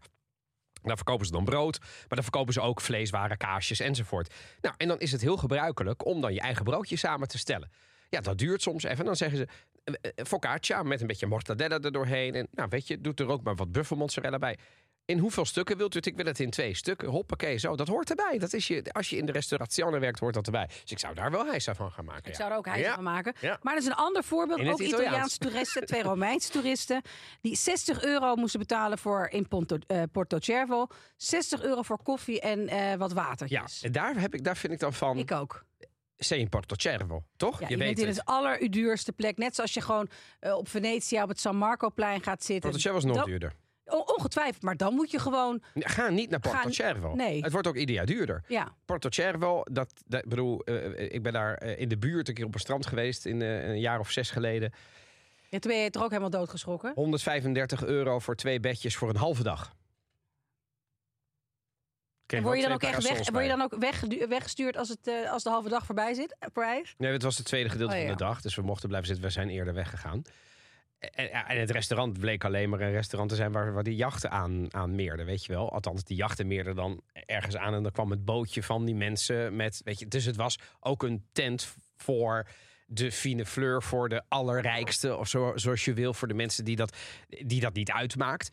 B: Daar verkopen ze dan brood, maar dan verkopen ze ook vleeswaren, kaasjes enzovoort. Nou, en dan is het heel gebruikelijk om dan je eigen broodje samen te stellen. Ja, dat duurt soms even. Dan zeggen ze eh, eh, focaccia met een beetje mortadella erdoorheen. En nou, weet je, doet er ook maar wat buffelmozzarella bij. In hoeveel stukken wilt u het? Ik wil het in twee stukken. Hoppakee, zo. Dat hoort erbij. Dat is je, als je in de restauratie werkt, hoort dat erbij. Dus ik zou daar wel hijsa van gaan maken.
A: Ik
B: ja.
A: zou er ook huis
B: Ja.
A: van maken.
B: Ja.
A: Maar dat is een ander voorbeeld.
B: In het
A: Ook
B: Italiaans.
A: Italiaanse toeristen,
B: <laughs>
A: twee Romeinse toeristen, die 60 euro moesten betalen voor in Ponto, eh, Porto Cervo. 60 euro voor koffie en eh, wat
B: Ja,
A: watertjes.
B: en daar, heb ik, daar vind ik dan van...
A: Ik ook.
B: Sei in Porto Cervo, toch?
A: Ja,
B: je
A: bent
B: weet
A: in
B: het.
A: het allerduurste plek. Net zoals je gewoon eh, op Venetia op het San Marcoplein gaat zitten.
B: Porto Cervo is nog
A: Dat-
B: duurder.
A: O- ongetwijfeld. Maar dan moet je gewoon...
B: Ga niet naar Porto
A: Ga-
B: Cervo.
A: nee.
B: Het wordt ook ieder jaar duurder.
A: Ja,
B: Porto Cervo, dat, dat ik bedoel, eh, ik ben daar eh, in de buurt een keer op een strand geweest in eh, een jaar of zes geleden.
A: ja toen ben je er ook helemaal doodgeschrokken.
B: 135 euro voor twee bedjes voor een halve dag.
A: En
B: Kreeg
A: word je dan
B: wel
A: ook
B: twee
A: echt weg,
B: parasols
A: word je
B: bij.
A: dan ook weggedu- weggestuurd als, het, eh, als de halve dag voorbij zit? eh, Prijs?
B: Nee, het was het tweede gedeelte
A: Oh, ja.
B: van de dag, dus we mochten blijven zitten. We zijn eerder weggegaan. En, en en het restaurant bleek alleen maar een restaurant te zijn waar, waar die jachten aan, aan meerden, weet je wel. Althans, die jachten meerden dan ergens aan en dan kwam het bootje van die mensen met, weet je. Dus het was ook een tent voor de fine fleur, voor de allerrijkste of zo, zoals je wil, voor de mensen die dat, die dat niet uitmaakt.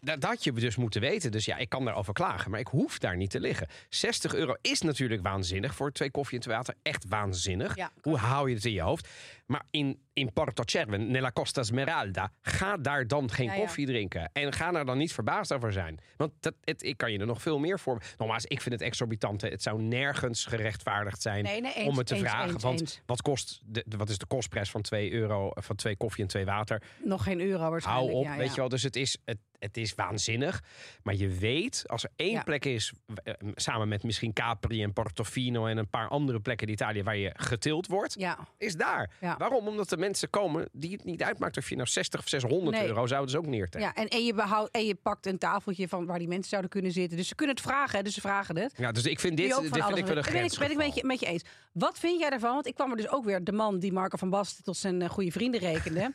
B: Dat, dat had je dus moeten weten. Dus ja, ik kan daarover klagen, maar ik hoef daar niet te liggen. 60 euro is natuurlijk waanzinnig voor twee koffie en twee water. Echt waanzinnig.
A: Ja,
B: Hoe hou je het in je hoofd? Maar in, in Porto Cervo, nella Costa Smeralda, ga daar dan geen
A: Ja, ja.
B: koffie drinken. En ga daar dan niet verbaasd over zijn. Want dat, het, ik kan je er nog veel meer voor. Nogmaals, ik vind het exorbitant. hè. Het zou nergens gerechtvaardigd zijn
A: Nee, nee, eens,
B: om het te
A: eens,
B: vragen.
A: eens,
B: want
A: eens.
B: Wat, kost de, de- wat is de kostprijs van 2 euro, van twee koffie en twee water?
A: Nog geen euro
B: Hou
A: waarschijnlijk.
B: op,
A: ja,
B: weet
A: ja.
B: je wel. Dus het is, het, het is waanzinnig. Maar je weet, als er één
A: Ja.
B: plek is, eh, samen met misschien Capri en Portofino en een paar andere plekken in Italië waar je getild wordt,
A: Ja,
B: is daar.
A: Ja.
B: Waarom? Omdat er mensen komen die het niet uitmaakt of je nou 60 of 600
A: Nee.
B: euro zouden ze ook neertellen.
A: ja. En, en, je behoudt, en je pakt een tafeltje van waar die mensen zouden kunnen zitten. Dus ze kunnen het vragen, hè, dus ze vragen het.
B: Ja. dus ik vind
A: Die
B: dit,
A: ook
B: dit
A: van
B: vind
A: alles
B: ik wel een
A: weet. Ben ik- Ben ik
B: grensgeval.
A: met je, met je eens. Wat vind jij daarvan? Want ik kwam er dus ook weer de man die Marco van Basten tot zijn eh, goede vrienden
B: <laughs>
A: rekende.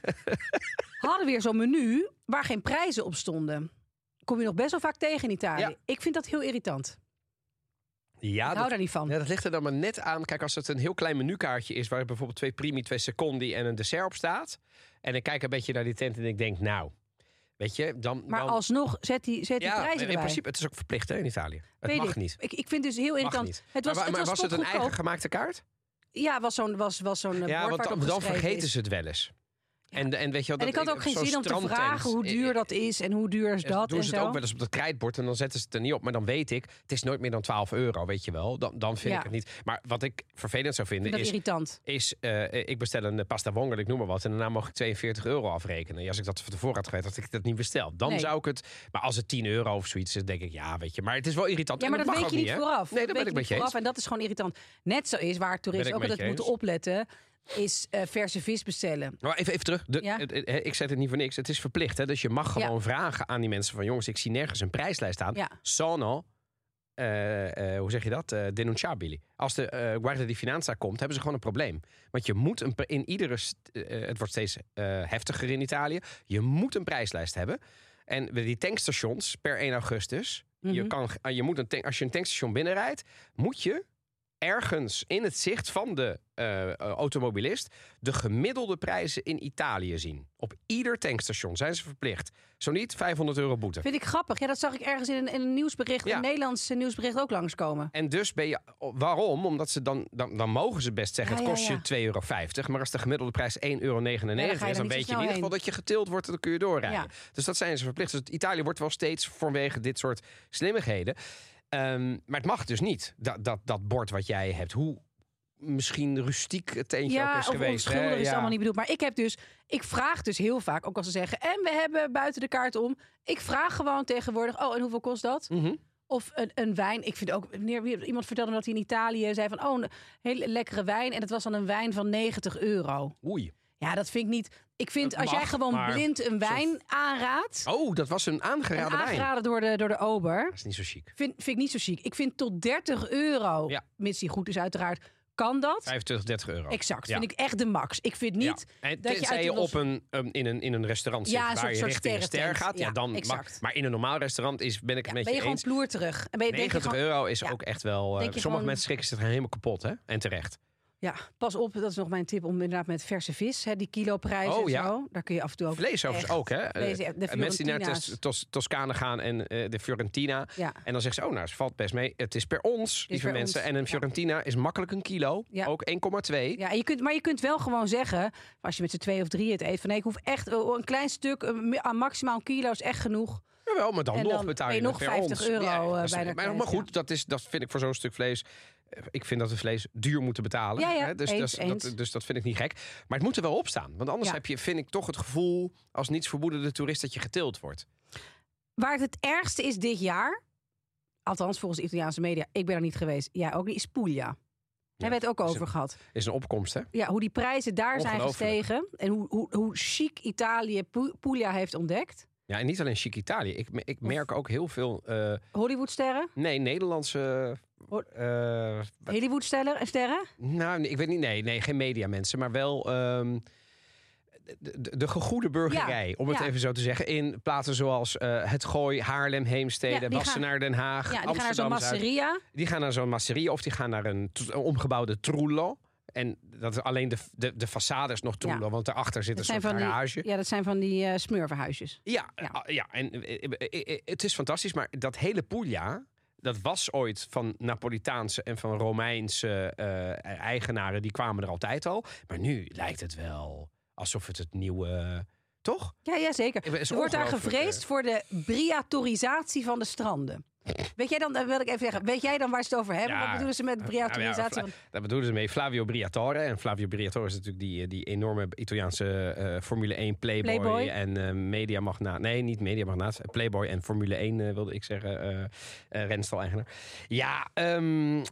A: hadden weer zo'n menu waar geen prijzen op stonden. Kom je nog best wel vaak tegen in Italië.
B: Ja.
A: Ik vind dat heel irritant.
B: Ja,
A: ik hou
B: dat,
A: daar niet van.
B: ja, dat ligt er dan maar net aan. Kijk, als het een heel klein menukaartje is... waar bijvoorbeeld twee primi, twee secondi en een dessert op staat... en ik kijk een beetje naar die tent en ik denk, nou... Weet je, dan...
A: maar
B: dan,
A: alsnog, zet die, zet die
B: ja,
A: prijzen
B: in
A: erbij.
B: principe, het is ook verplicht hè, in Italië. Het
A: Weet
B: mag
A: ik.
B: niet.
A: Ik, ik vind dus heel
B: Mag
A: irritant.
B: niet.
A: Het was,
B: maar
A: het
B: maar
A: was,
B: was het een
A: topgoedkoop.
B: eigen gemaakte kaart?
A: Ja, was zo'n was, was zo'n eh,
B: Ja,
A: bord
B: want
A: waar
B: dan,
A: het op
B: dan
A: geschreven
B: vergeten
A: is.
B: ze het wel eens. En, en, weet je wel,
A: En ik had
B: dat-
A: ook geen
B: zo'n
A: zin om te
B: strandtent.
A: vragen hoe duur dat is en hoe duur is
B: Ja,
A: dat.
B: doen
A: en
B: ze
A: zo.
B: het ook wel eens op dat krijtbord en dan zetten ze het er niet op. Maar dan weet ik, het is nooit meer dan 12 euro, weet je wel. Dan, dan vind
A: Ja.
B: ik het niet. Maar wat ik vervelend zou
A: Ik vind
B: vinden
A: dat
B: is...
A: irritant.
B: is eh, ik bestel een pasta wongel, ik noem maar wat. En daarna mag ik 42 euro afrekenen. Ja, als ik dat van tevoren had geweten, had ik dat niet besteld. Dan
A: Nee.
B: zou ik het... Maar als het 10 euro of zoiets is, denk ik, ja, weet je. Maar het is wel irritant.
A: Ja,
B: En
A: maar dat,
B: mag
A: weet je
B: ook
A: niet
B: hè?
A: vooraf.
B: Nee,
A: Dat
B: dat
A: weet je
B: ben ik
A: niet
B: met je eens.
A: vooraf. En dat is gewoon irritant. Net zo is waar toeristen
B: ik
A: ook
B: met
A: altijd
B: je
A: moeten
B: eens.
A: opletten, is eh, verse vis bestellen.
B: Maar even, even terug. De,
A: Ja.
B: het- het- hè, ik zeg het niet voor niks. Het is verplicht. Hè? Dus je mag
A: Ja.
B: gewoon vragen aan die mensen van... jongens, ik zie nergens een prijslijst staan.
A: Ja.
B: Sono, eh, eh, hoe zeg je dat? Eh denunciabili. Als de eh Guardia di Finanza komt, hebben ze gewoon een probleem. Want je moet een, pri- in iedere... st- eh, het wordt steeds eh, heftiger in Italië. Je moet een prijslijst hebben. En bij die tankstations per 1 augustus... je
A: Mhm.
B: kan, eh, je moet een tank, als je een tankstation binnenrijdt, moet je ergens in het zicht van de eh, eh, automobilist de gemiddelde prijzen in Italië zien. Op ieder tankstation zijn ze verplicht. Zo niet 500 euro boete.
A: Vind ik grappig. Ja, dat zag ik ergens in een, in een nieuwsbericht,
B: Ja.
A: een Nederlands eh, nieuwsbericht ook langskomen.
B: En dus ben je. Waarom? Omdat ze dan. Dan, dan mogen ze best zeggen:
A: Ja,
B: het
A: ja,
B: kost
A: ja.
B: je 2,50 euro. Maar als de gemiddelde prijs 1,99 euro
A: Ja, dan
B: is,
A: ga je er
B: dan
A: niet zo
B: weet je
A: snel
B: in ieder
A: heen.
B: geval dat je getild wordt. en Dan kun je doorrijden.
A: Ja.
B: Dus dat zijn ze verplicht. Dus Italië wordt wel steeds vanwege dit soort slimmigheden. Ehm, maar het mag dus niet. Dat, dat, dat bord wat jij hebt. Hoe misschien rustiek het eentje ook
A: Ja,
B: is
A: of
B: geweest.
A: onschuldig
B: hè?
A: is het
B: Ja.
A: allemaal niet bedoeld. Maar ik heb dus, ik vraag dus heel vaak, ook als ze zeggen, en we hebben buiten de kaart om. Ik vraag gewoon tegenwoordig, oh, en hoeveel kost dat?
B: Mhm.
A: Of een, een wijn. Ik vind ook, wanneer wie- iemand vertelde me dat hij in Italië zei van, oh, een hele lekkere wijn. En dat was dan een wijn van 90 euro.
B: Oei.
A: Ja, dat vind ik niet. Ik vind
B: Dat
A: als jij
B: mag,
A: gewoon
B: maar
A: blind een wijn aanraadt,
B: Oh, dat was een
A: en
B: aangeraden wijn.
A: aangeraden door de, door de ober,
B: Dat is niet zo chic.
A: vind, vind ik niet zo chic. Ik vind tot 30 euro,
B: Ja.
A: mits die goed is uiteraard, kan dat.
B: 25, 30 euro.
A: Exact,
B: Ja.
A: vind ik echt de max. Ik vind niet
B: Ja. En
A: dat je
B: tenzij
A: uit
B: je,
A: die
B: op een, ehm, in, een, in een restaurant zit
A: Ja, een
B: waar
A: soort-
B: je
A: soort
B: richting een ster
A: sterrentent.
B: gaat, ja,
A: Ja,
B: dan mag,
A: exact.
B: maar in een normaal restaurant is, ben ik het
A: ja,
B: met
A: ben je
B: je
A: gewoon
B: eens.
A: ploer terug. En ben je, denk je
B: 90
A: gewoon,
B: euro is
A: ja.
B: ook echt wel. eh,
A: Denk je
B: sommige
A: gewoon-
B: mensen schrikken zich er helemaal kapot, hè? En terecht.
A: ja, pas op, dat is nog mijn tip om inderdaad met verse vis, hè, die kiloprijs
B: Oh,
A: en
B: ja.
A: zo. Daar kun je af en toe ook
B: Vlees overigens
A: echt
B: ook, hè? Eh,
A: vlees- de
B: eh, mensen die naar
A: Fiorentina's.
B: Tos- Tos- Toscane gaan en eh, de Fiorentina.
A: Ja.
B: En dan zeggen ze, oh, nou, het valt best mee. Het is per ons, lieve
A: per
B: mensen.
A: ons,
B: En een
A: ja.
B: Fiorentina is makkelijk een kilo,
A: Ja.
B: ook 1,2.
A: Ja, en je kunt, maar je kunt wel gewoon zeggen, als je met z'n twee of drie het eet, van nee, ik hoef echt eh, een klein stuk, een mi- ah, maximaal een kilo is echt genoeg.
B: Jawel, maar dan,
A: En
B: nog
A: dan
B: betaal
A: ben
B: je
A: je nog
B: per
A: 50
B: ons.
A: euro, eh,
B: dat is-
A: bijna
B: maar, maar
A: kwijt,
B: goed, dat, is, dat vind ik voor zo'n stuk vlees. eh, Ik vind dat we vlees duur moeten betalen.
A: Ja, ja,
B: hè? Dus,
A: eens,
B: dat, dat-
A: eens.
B: dus dat vind ik niet gek. Maar het moet er wel op staan. Want anders
A: Ja.
B: heb je, vind ik toch het gevoel als nietsvermoedende toerist dat je getild wordt.
A: Waar het het ergste is dit jaar, althans volgens de Italiaanse media, ik ben er niet geweest, jij ook niet, is Puglia. Daar hebben we het ook
B: is
A: over gehad.
B: Is een opkomst, hè?
A: Ja, hoe die prijzen daar zijn
B: Ongelooflijk.
A: gestegen en hoe, hoe, hoe chic Italië Pu- Puglia heeft ontdekt.
B: Ja, en niet alleen chic Italië. Ik, me- ik merk ook heel veel. eh,
A: Hollywoodsterren,
B: nee, Nederlandse.
A: Hoor-
B: eh,
A: Hollywoodsterren en sterren.
B: nou, nee, ik weet niet. Nee, nee geen mediamensen, maar wel. ehm, de, de- de gegoede burgerij, om het
A: ja.
B: even zo te zeggen. In plaatsen zoals eh, Het Gooi, Haarlem,
A: Ja,
B: Heemstede,
A: die
B: Wassenaar, Den Haag,
A: Ja, die gaan naar zo'n
B: Amsterdam. Zuid.
A: masseria.
B: Die gaan naar zo'n masserie of die gaan naar een, t- een omgebouwde trullo. En dat is alleen de, de, de façade is nog trullo,
A: Ja.
B: want daarachter zit
A: Dat zijn,
B: een soort
A: van
B: garage.
A: die, ja, dat zijn van die eh smurvenhuisjes.
B: Ja,
A: Ja.
B: ah, ja. en eh, eh, eh, het is fantastisch, maar dat hele Puglia, dat was ooit van Napolitaanse en van Romeinse eh, eigenaren, die kwamen er altijd al. Maar nu lijkt het wel alsof het het nieuwe Toch?
A: Ja, ja zeker.
B: Het is
A: Er wordt daar
B: ongelooflijk,
A: gevreesd voor de briatorisatie van de stranden. Weet jij dan, eh, wil ik even zeggen, weet jij dan waar ze het over hebben?
B: Ja.
A: Wat bedoelen ze met
B: Nou
A: briatorisatie?
B: ja,
A: van...
B: Fla- Daar bedoelen ze mee Flavio Briatore. En Flavio Briatore is natuurlijk die, eh, die enorme Italiaanse eh, Formule 1 playboy,
A: Playboy.
B: en eh mediamagnaat. Nee, niet mediamagnaat. eh, Playboy en Formule 1 eh, wilde ik zeggen. eh eh, Renstal-eigenaar. Ja, ehm,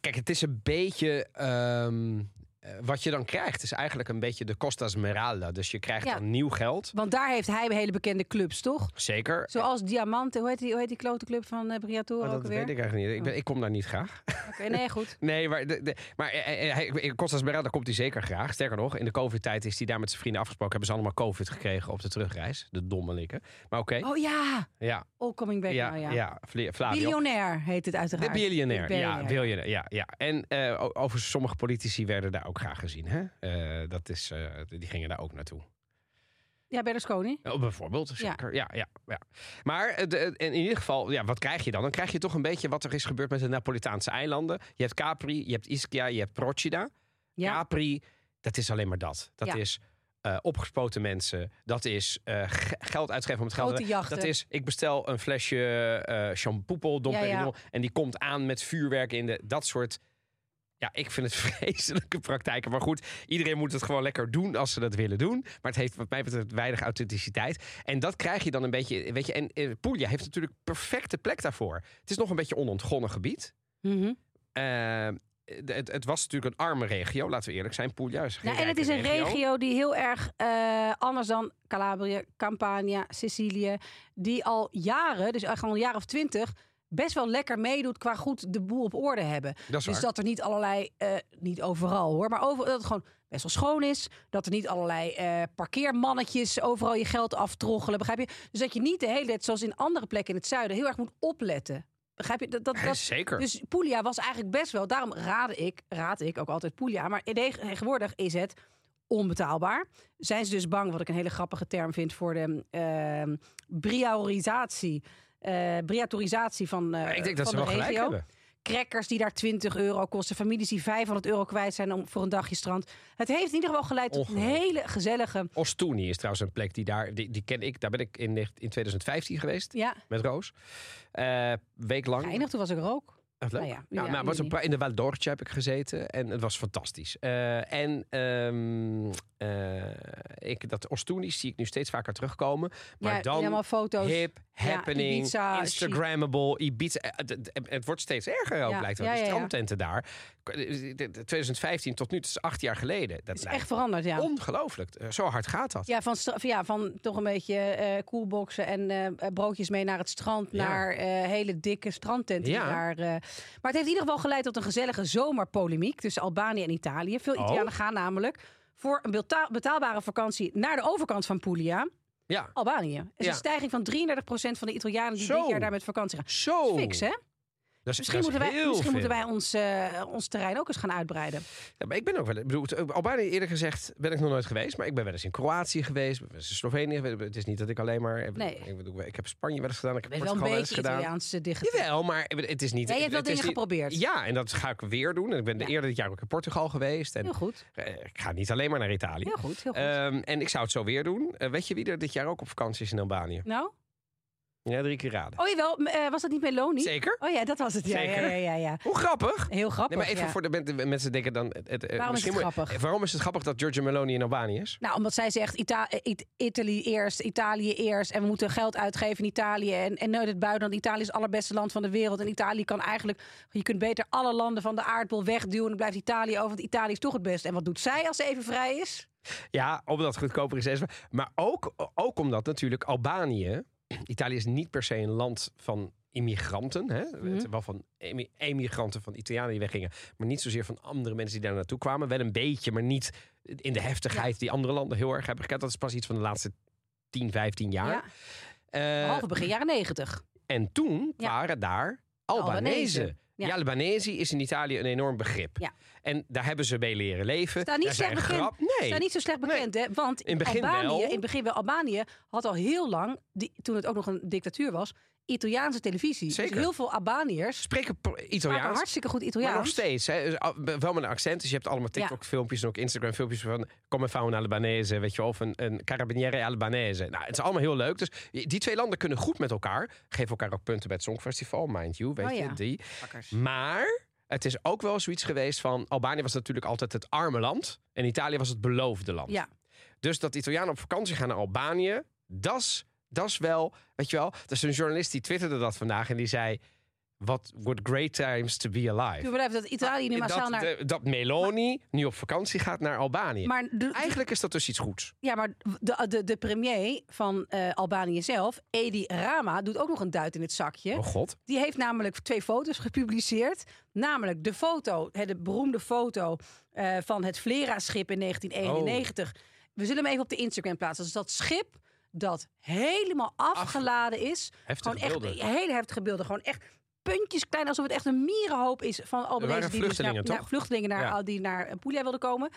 B: kijk, het is een beetje... ehm, eh, wat je dan krijgt is eigenlijk een beetje de Costa Smeralda. Dus je krijgt
A: Ja.
B: dan nieuw geld.
A: Want daar heeft hij hele bekende clubs, toch?
B: Zeker.
A: Zoals Diamante, hoe heet die, hoe heet die klote club van eh, Briatore
B: Maar
A: ook
B: Oh, dat
A: weer?
B: weet ik eigenlijk niet. Ik, ben, ik kom daar niet graag.
A: nee,
B: <laughs>
A: goed.
B: Nee, maar, de, de, maar eh, eh, hij- in Costa Smeralda komt hij zeker graag. Sterker nog, in de COVID-tijd is hij daar met zijn vrienden afgesproken. Hebben ze allemaal COVID gekregen op de terugreis. De domme likken. Maar oké.
A: Oh ja,
B: Ja,
A: All Coming Back
B: ja,
A: nou ja.
B: ja. Fla- Flavio.
A: Biljonair heet het
B: De
A: uiteraard.
B: biljonair.
A: De
B: Ja, biljonair. Ja, ja. En eh, o- overigens, sommige politici werden daar ook graag gezien. Hè? Eh, dat is, eh, die gingen daar ook naartoe.
A: Ja, Berlusconi.
B: Oh, bijvoorbeeld, zeker. Ja, ja, ja. Maar eh, de- in ieder geval, ja, wat krijg je dan? Dan krijg je toch een beetje wat er is gebeurd met de Napolitaanse eilanden. Je hebt Capri, je hebt Ischia, je hebt Procida.
A: Ja.
B: Capri, dat is alleen maar dat. Dat
A: Ja.
B: is eh, opgespoten mensen. Dat is eh, g- geld uitgeven om het geld te-
A: Grote jachten.
B: Dat is, ik bestel een flesje eh shampoo, Dom
A: Ja, ja.
B: Perignon, En die komt aan met vuurwerk in de... Dat soort... Ja, ik vind het <laughs> vreselijke praktijken. Maar goed, iedereen moet het gewoon lekker doen als ze dat willen doen. Maar het heeft wat mij betreft weinig authenticiteit. En dat krijg je dan een beetje... Weet je, en eh, Puglia heeft natuurlijk perfecte plek daarvoor. Het is nog een beetje onontgonnen gebied.
A: Mhm.
B: Eh, de- het, het was natuurlijk een arme regio, laten we eerlijk zijn. Puglia is geen
A: Nou, en het is
B: rijke
A: een regio die heel erg eh, anders dan Calabria, Campania, Sicilië, die al jaren, dus eigenlijk al een jaar of twintig, best wel lekker meedoet qua goed de boel op orde hebben.
B: Dat is
A: Dus
B: waar.
A: dat er niet allerlei, eh, niet overal hoor, maar over, dat het gewoon best wel schoon is. Dat er niet allerlei eh, parkeermannetjes overal je geld aftroggelen, begrijp je? Dus dat je niet de hele tijd, zoals in andere plekken in het zuiden, heel erg moet opletten. Begrijp je? Dat, dat, dat,
B: Zeker.
A: dus Puglia was eigenlijk best wel. Daarom raad ik, raad ik ook altijd Puglia. Maar tegenwoordig is het onbetaalbaar. Zijn ze dus bang, wat ik een hele grappige term vind voor de ehm briatorisatie. eh briatorisatie van, eh,
B: ik denk
A: van
B: dat ze
A: de
B: wel gelijk
A: regio.
B: hebben.
A: Crackers die daar 20 euro kosten. Families die 500 euro kwijt zijn om, voor een dagje strand. Het heeft in ieder geval geleid tot een
B: Ongelooflijk.
A: hele gezellige...
B: Ostuni is trouwens een plek die daar, die, die ken ik, daar ben ik in, negen- in 2015 geweest
A: Ja,
B: met Roos. Eh week lang.
A: geinig. Toen was ik er ook.
B: Echt leuk.
A: Nou
B: ja,
A: ja, ja,
B: maar
A: nu
B: was een
A: niet.
B: paar, in de Val d'Orcia heb ik gezeten en het was fantastisch. Eh, en ehm, eh, ik, dat Ostuni zie ik nu steeds vaker terugkomen. Maar
A: ja,
B: dan
A: helemaal foto's.
B: hip,
A: Ja,
B: happening,
A: Ibiza,
B: Instagrammable, Ibiza. Eh, Het, het- het wordt steeds erger ook,
A: Ja,
B: lijkt wel.
A: ja,
B: die
A: ja, ja.
B: strandtenten daar. eh, 2015 tot nu, het is acht jaar geleden. Dat
A: Het is
B: lijkt
A: echt veranderd, ja.
B: ongelooflijk. Eh, Zo hard gaat dat.
A: Ja, van, stra- ja, van toch een beetje eh koelboxen en eh, eh, broodjes mee naar het strand.
B: Ja.
A: Naar eh, hele dikke strandtenten. die
B: Ja.
A: Daar, eh, maar het heeft in ieder geval geleid tot een gezellige zomerpolemiek tussen Albanië en Italië. Veel
B: Oh.
A: Italianen gaan namelijk voor een beta- betaalbare vakantie naar de overkant van Puglia,
B: ja.
A: Albanië. Er is
B: Ja.
A: een stijging van 33% van de Italianen die
B: Zo.
A: dit jaar daar met vakantie gaan.
B: Zo.
A: Fix, hè?
B: Dat is-
A: Misschien,
B: dat is
A: moeten wij,
B: heel
A: misschien moeten
B: veel.
A: wij ons, eh, ons terrein ook eens gaan uitbreiden.
B: Ja, maar ik ben ook wel. ik Bedoel, het- eh, Albanië eerlijk gezegd ben ik nog nooit geweest, maar ik ben wel eens in Kroatië geweest, ben wel eens in Slovenië. geweest. Het is niet dat ik alleen maar.
A: Nee.
B: Ik, bedoel, ik heb Spanje wel eens gedaan, ik heb
A: Weet wel een
B: Portugal wel eens
A: beetje
B: gedaan.
A: Italiaanse dicht.
B: Jawel, maar ik bedoel, het is niet.
A: Jij hebt wel
B: het is
A: dingen
B: niet-
A: geprobeerd.
B: Ja, en dat ga ik weer doen. En ik ben
A: Ja.
B: eerder dit jaar ook in Portugal geweest. En
A: Heel goed,
B: eh, ik ga niet alleen maar naar Italië.
A: heel goed, heel goed.
B: Ehm, en ik zou het zo weer doen. Eh, weet je wie er dit jaar ook op vakantie is in Albanië?
A: nou?
B: Ja, drie keer raden.
A: Oh jawel, m- eh, was dat niet Meloni?
B: Zeker?
A: Oh ja, dat was het. Ja, ja,
B: Zeker.
A: ja, ja, ja.
B: Hoe grappig!
A: Heel grappig.
B: Nee, maar even
A: ja.
B: voor de men- de mensen denken dan. Het, het- eh,
A: Waarom is
B: misschien
A: het
B: moet-
A: grappig?
B: eh, Waarom is het grappig dat Giorgio Meloni in Albanië is?
A: Nou, omdat zij zegt Ita eh, It- Italy eerst, Italië eerst. En we moeten geld uitgeven in Italië. En, en nooit het buitenland. Italië is het allerbeste land van de wereld. En Italië kan eigenlijk... Je kunt beter alle landen van de aardbol wegduwen. En dan blijft Italië over. Want Italië is toch het beste. En wat doet zij als ze even vrij is?
B: Ja, omdat het goedkoper is. Maar ook, ook omdat natuurlijk Albanië... Italië is niet per se een land van immigranten. Hè?
A: Mhm.
B: Het is Wel van emi- emigranten van Italianen die weggingen. Maar niet zozeer van andere mensen die daar naartoe kwamen. Wel een beetje, maar niet in de heftigheid die andere landen heel erg hebben gekend. Dat is pas iets van de laatste 10, 15 jaar.
A: Ja.
B: Eh,
A: Halve begin jaren negentig.
B: en toen
A: Ja.
B: waren daar
A: Albanese.
B: Albanese. Ja,
A: Ja.
B: Albanese is in Italië een enorm begrip.
A: Ja.
B: En daar hebben ze mee leren leven.
A: Staan niet
B: Daar zijn
A: slecht bekend.
B: grap-
A: Ze
B: Nee.
A: zijn niet zo slecht bekend, hè? Want
B: In het begin
A: Albanië,
B: wel.
A: in het begin wel, Albanië had al heel lang, die, toen het ook nog een dictatuur was, Italiaanse televisie.
B: Zeker.
A: Dus heel veel Albaniërs
B: Spreken pro-
A: praten
B: Italiaans.
A: hartstikke goed
B: Maar
A: Italiaans.
B: nog steeds, hè, dus, ah, wel met een accent. Dus je hebt allemaal
A: Ja.
B: TikTok-filmpjes en ook Instagram-filmpjes van... Come fa un Albanese, weet je wel, Of een, een carabiniere Albanese. Nou, het is allemaal heel leuk. Dus die twee landen kunnen goed met elkaar. Geef elkaar ook punten bij het Songfestival, mind you. Weet
A: Oh ja.
B: je, die. Maar het is ook wel zoiets geweest van... Albanië was natuurlijk altijd het arme land. En Italië was het beloofde land.
A: Ja.
B: Dus dat Italianen op vakantie gaan naar Albanië... Dat is- dat is wel, weet je wel... Dus een journalist die twitterde dat vandaag en die zei... What would great times to be
A: Ik
B: alive.
A: blijf dat Italië nu massaal
B: Ah, Dat,
A: naar...
B: de- dat Meloni nu op vakantie gaat naar Albanië.
A: Maar de,
B: Eigenlijk is dat dus iets goeds.
A: ja, maar de, de, de premier van eh, Albanië zelf, Edi Rama, doet ook nog een duit in het zakje.
B: Oh god.
A: Die heeft namelijk twee foto's gepubliceerd. Namelijk de foto, hè, de beroemde foto eh, van het Vlera-schip in 1991.
B: Oh.
A: We zullen hem even op de Instagram plaatsen. Dus dat schip dat helemaal afgeladen is.
B: Heftige
A: gewoon
B: beelden.
A: echt hele heftige beelden. Gewoon echt puntjes klein, alsof het echt een mierenhoop is van Albanese
B: waren
A: die dus
B: vluchtelingen,
A: naar,
B: toch?
A: naar vluchtelingen naar,
B: Ja.
A: die naar eh, Puglia wilden komen.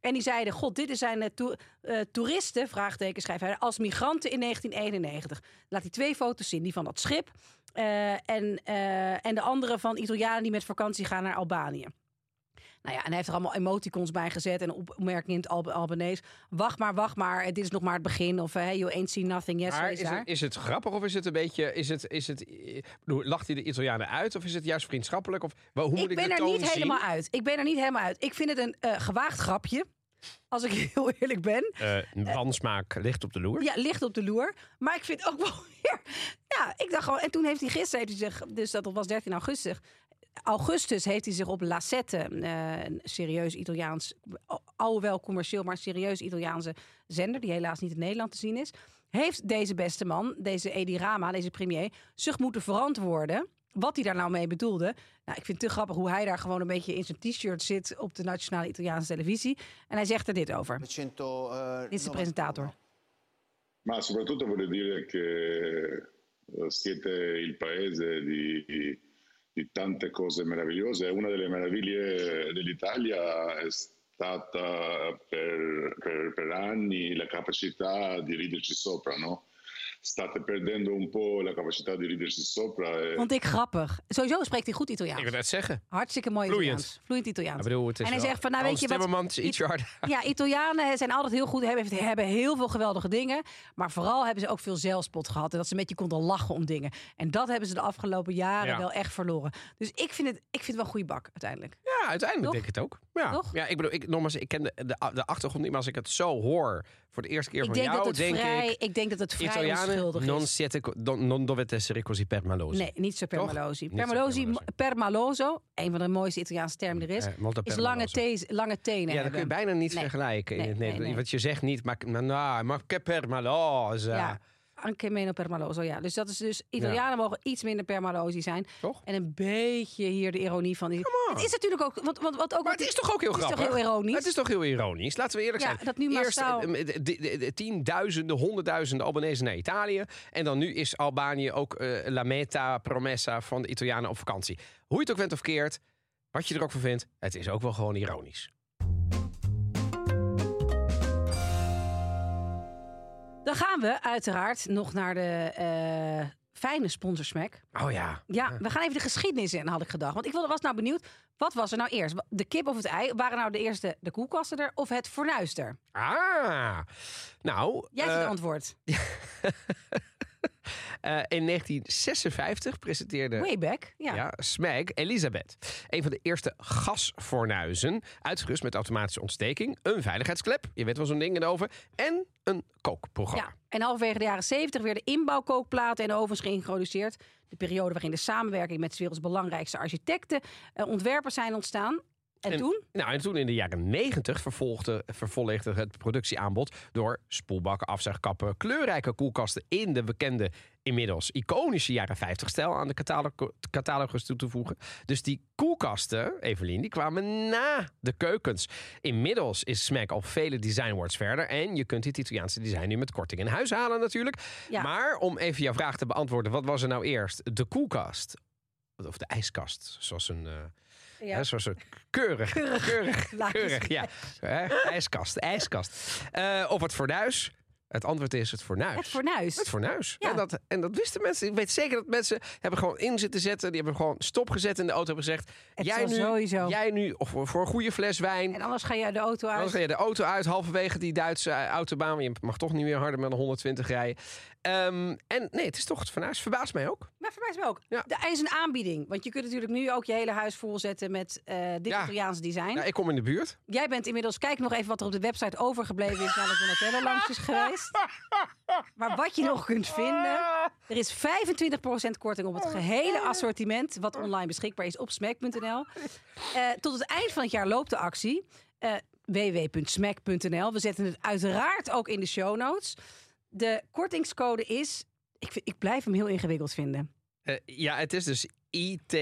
A: En die zeiden, god, dit zijn eh, to- eh, toeristen, vraagteken schrijft hij, als migranten in 1991. Laat die twee foto's zien, die van dat schip eh, en, eh, en de andere van Italianen die met vakantie gaan naar Albanië. Nou ja, en hij heeft er allemaal emoticons bij gezet en opmerkingen in het Alb Albanees. Wacht maar, wacht maar, eh, dit is nog maar het begin. Of, hey, you ain't seen nothing yet, zo
B: Maar
A: is
B: is
A: daar.
B: het, is het grappig of is het een beetje... Is het, is het, eh, bedoel, lacht hij de Italianen uit of is het juist vriendschappelijk? Of, wel, hoe moet
A: ik
B: ik,
A: ben
B: de
A: er
B: toon
A: niet
B: zien?
A: helemaal uit. Ik ben er niet helemaal uit. Ik vind het een eh, gewaagd grapje. Als ik <laughs> heel eerlijk ben.
B: Eh, wansmaak ligt op de loer.
A: Ja, ligt op de loer. Maar ik vind ook <laughs> wel weer. Ja, ik dacht gewoon. En toen heeft hij gisteren, heeft hij zich, dus dat was 13 augustus. Augustus heeft hij zich op La Sette, eh, een serieus Italiaans, al- alhoewel commercieel, maar serieus Italiaanse zender, die helaas niet in Nederland te zien is, heeft deze beste man, deze Edi Rama, deze premier, zich moeten verantwoorden. Wat hij daar nou mee bedoelde. Nou, ik vind het te grappig hoe hij daar gewoon een beetje in zijn t-shirt zit op de nationale Italiaanse televisie. En hij zegt er dit over.
C: 100, eh,
A: Dit is de presentator.
D: Ma soprattutto voglio dire che eh, siete il paese di, di tante cose meravigliose. Una delle meraviglie dell'Italia è stata per, per- per anni la capacità di riderci sopra, no? State perdendo un po' la capacità di riderci sopra. E...
A: Vond ik grappig. Sowieso spreekt hij goed
B: Ik
A: Italiaans.
B: wil net zeggen.
A: Hartstikke mooi
B: Vloeiend.
A: Italiaans. Vloeiend Italiaans.
B: Ik bedoel, het is
A: en hij
B: wel-
A: zegt van, nou weet
B: Hans
A: je wat...
B: Timmermans, ietsje harder.
A: Ja, Italianen eh, zijn altijd heel goed, hebben, hebben heel veel geweldige dingen. Maar vooral hebben ze ook veel zelfspot gehad. En dat ze met je konden lachen om dingen. En dat hebben ze de afgelopen jaren
B: Ja.
A: wel echt verloren. Dus ik vind het, ik vind het wel een goede bak uiteindelijk.
B: Ja, uiteindelijk
A: Toch?
B: denk ik het ook. Ja,
A: Toch?
B: ja ik bedoel, ik, nogmaals, ik ken de, de, de achtergrond niet, maar als ik het zo hoor voor de eerste keer
A: ik
B: van
A: denk
B: jou,
A: dat het
B: denk
A: vrij,
B: ik...
A: ik, denk dat het vrij onschuldig
B: Italianen,
A: is.
B: non, siete, co- don- non dovete essere così permalosi.
A: Nee, niet zo Permalosi.
B: Niet zo
A: Permalosi,
B: Permalosi.
A: Permaloso, een van de mooiste Italiaanse termen er is,
B: Eh, molto
A: is lange,
B: Permaloso.
A: thees, lange tenen
B: Ja, dat kun je
A: hebben.
B: bijna niet
A: Nee.
B: vergelijken. in
A: Nee,
B: het
A: nee,
B: Nederlands.
A: nee.
B: Wat je zegt niet, maar, maar, nou, maar che permalosa.
A: Ja, anche meno permaloso, ja. Dus dat is dus, Italianen mogen iets minder permalosi zijn.
B: Toch?
A: En een beetje hier de ironie van...
B: on.
A: Het is natuurlijk ook... Want, want, wat ook
B: Maar het is toch ook heel
A: het is toch
B: grappig?
A: heel ironisch?
B: Het is toch heel ironisch? Laten we eerlijk
A: Ja,
B: zijn.
A: dat nu
B: Eerst
A: massaal-
B: eh, de- de- de- de tienduizenden, honderdduizenden Albanese naar Italië. En dan nu is Albanië ook eh, la meta promessa van de Italianen op vakantie. Hoe je het ook went of keert, wat je er ook van vindt, het is ook wel gewoon ironisch.
A: Dan gaan we uiteraard nog naar de eh, fijne sponsorsmack.
B: Oh ja.
A: Ja, we gaan even de geschiedenis in, had ik gedacht. Want ik wilde- was nou benieuwd, wat was er nou eerst? De kip of het ei? Waren nou de eerste de koelkasten er of het fornuis er?
B: Ah. Nou.
A: Jij hebt
B: eh,
A: het antwoord.
B: eh, in 1956 presenteerde
A: Way back. Ja.
B: Ja. Smeg Elisabeth. Een van de eerste gasfornuizen. Uitgerust met automatische ontsteking. Een veiligheidsklep. Je weet wel zo'n ding erover. En een kookprogramma.
A: Ja, en halverwege de jaren 70 werden inbouwkookplaten en ovens geïntroduceerd. De periode waarin de samenwerking met 's werelds belangrijkste architecten en ontwerpers zijn ontstaan. En,
B: En-
A: toen?
B: Nou, en toen in de jaren 90 vervolgde, vervollegde het productieaanbod door spoelbakken, afzuigkappen, kleurrijke koelkasten in de bekende, inmiddels iconische jaren 50-stijl aan de catalogu- catalogus toe te voegen. Dus die koelkasten, Evelien, die kwamen na de keukens. Inmiddels is Smack al vele design awards verder en je kunt dit Italiaanse design nu met korting in huis halen natuurlijk.
A: Ja.
B: Maar om even jouw vraag te beantwoorden, wat was er nou eerst? De koelkast of de ijskast, zoals een... eh, Hè, zoals een keurig, keurig,
A: <laughs>
B: keurig,
A: Laagjes.
B: ja. Hè, ijskast, ijskast. Eh, of het fornuis. Het antwoord is het fornuis.
A: Het fornuis.
B: Het fornuis.
A: Ja.
B: En, dat, en dat wisten mensen. Ik weet zeker dat mensen hebben gewoon in zitten zetten. Die hebben gewoon stop gezet in de auto. Hebben gezegd,
A: Het
B: jij
A: zal
B: nu,
A: sowieso.
B: jij nu, of voor, voor een goede fles wijn.
A: En anders ga jij de auto uit.
B: Dan ga je de auto uit, halverwege die Duitse eh, autobaan. want Je mag toch niet meer harder met 120 rijden. Ehm, en nee, het is toch het fornuis. Verbaast mij ook.
A: Maar voor mij is het ook.
B: Ja.
A: De, er is een aanbieding. Want je kunt natuurlijk nu ook je hele huis volzetten met eh dit
B: Ja.
A: Italiaans design.
B: Nou, ik kom in de buurt.
A: Jij bent inmiddels, kijk nog even wat er op de website overgebleven is nadat Donatello langs is geweest. Maar wat je nog kunt vinden. Er is 25% korting op het
B: Oh,
A: gehele assortiment wat online beschikbaar is op smack.nl. Eh, tot het eind van het jaar loopt de actie. Eh www.smack.nl. We zetten het uiteraard ook in de show notes. De kortingscode is, ik, vind- ik blijf hem heel ingewikkeld vinden.
B: Eh, ja, het is dus ITP.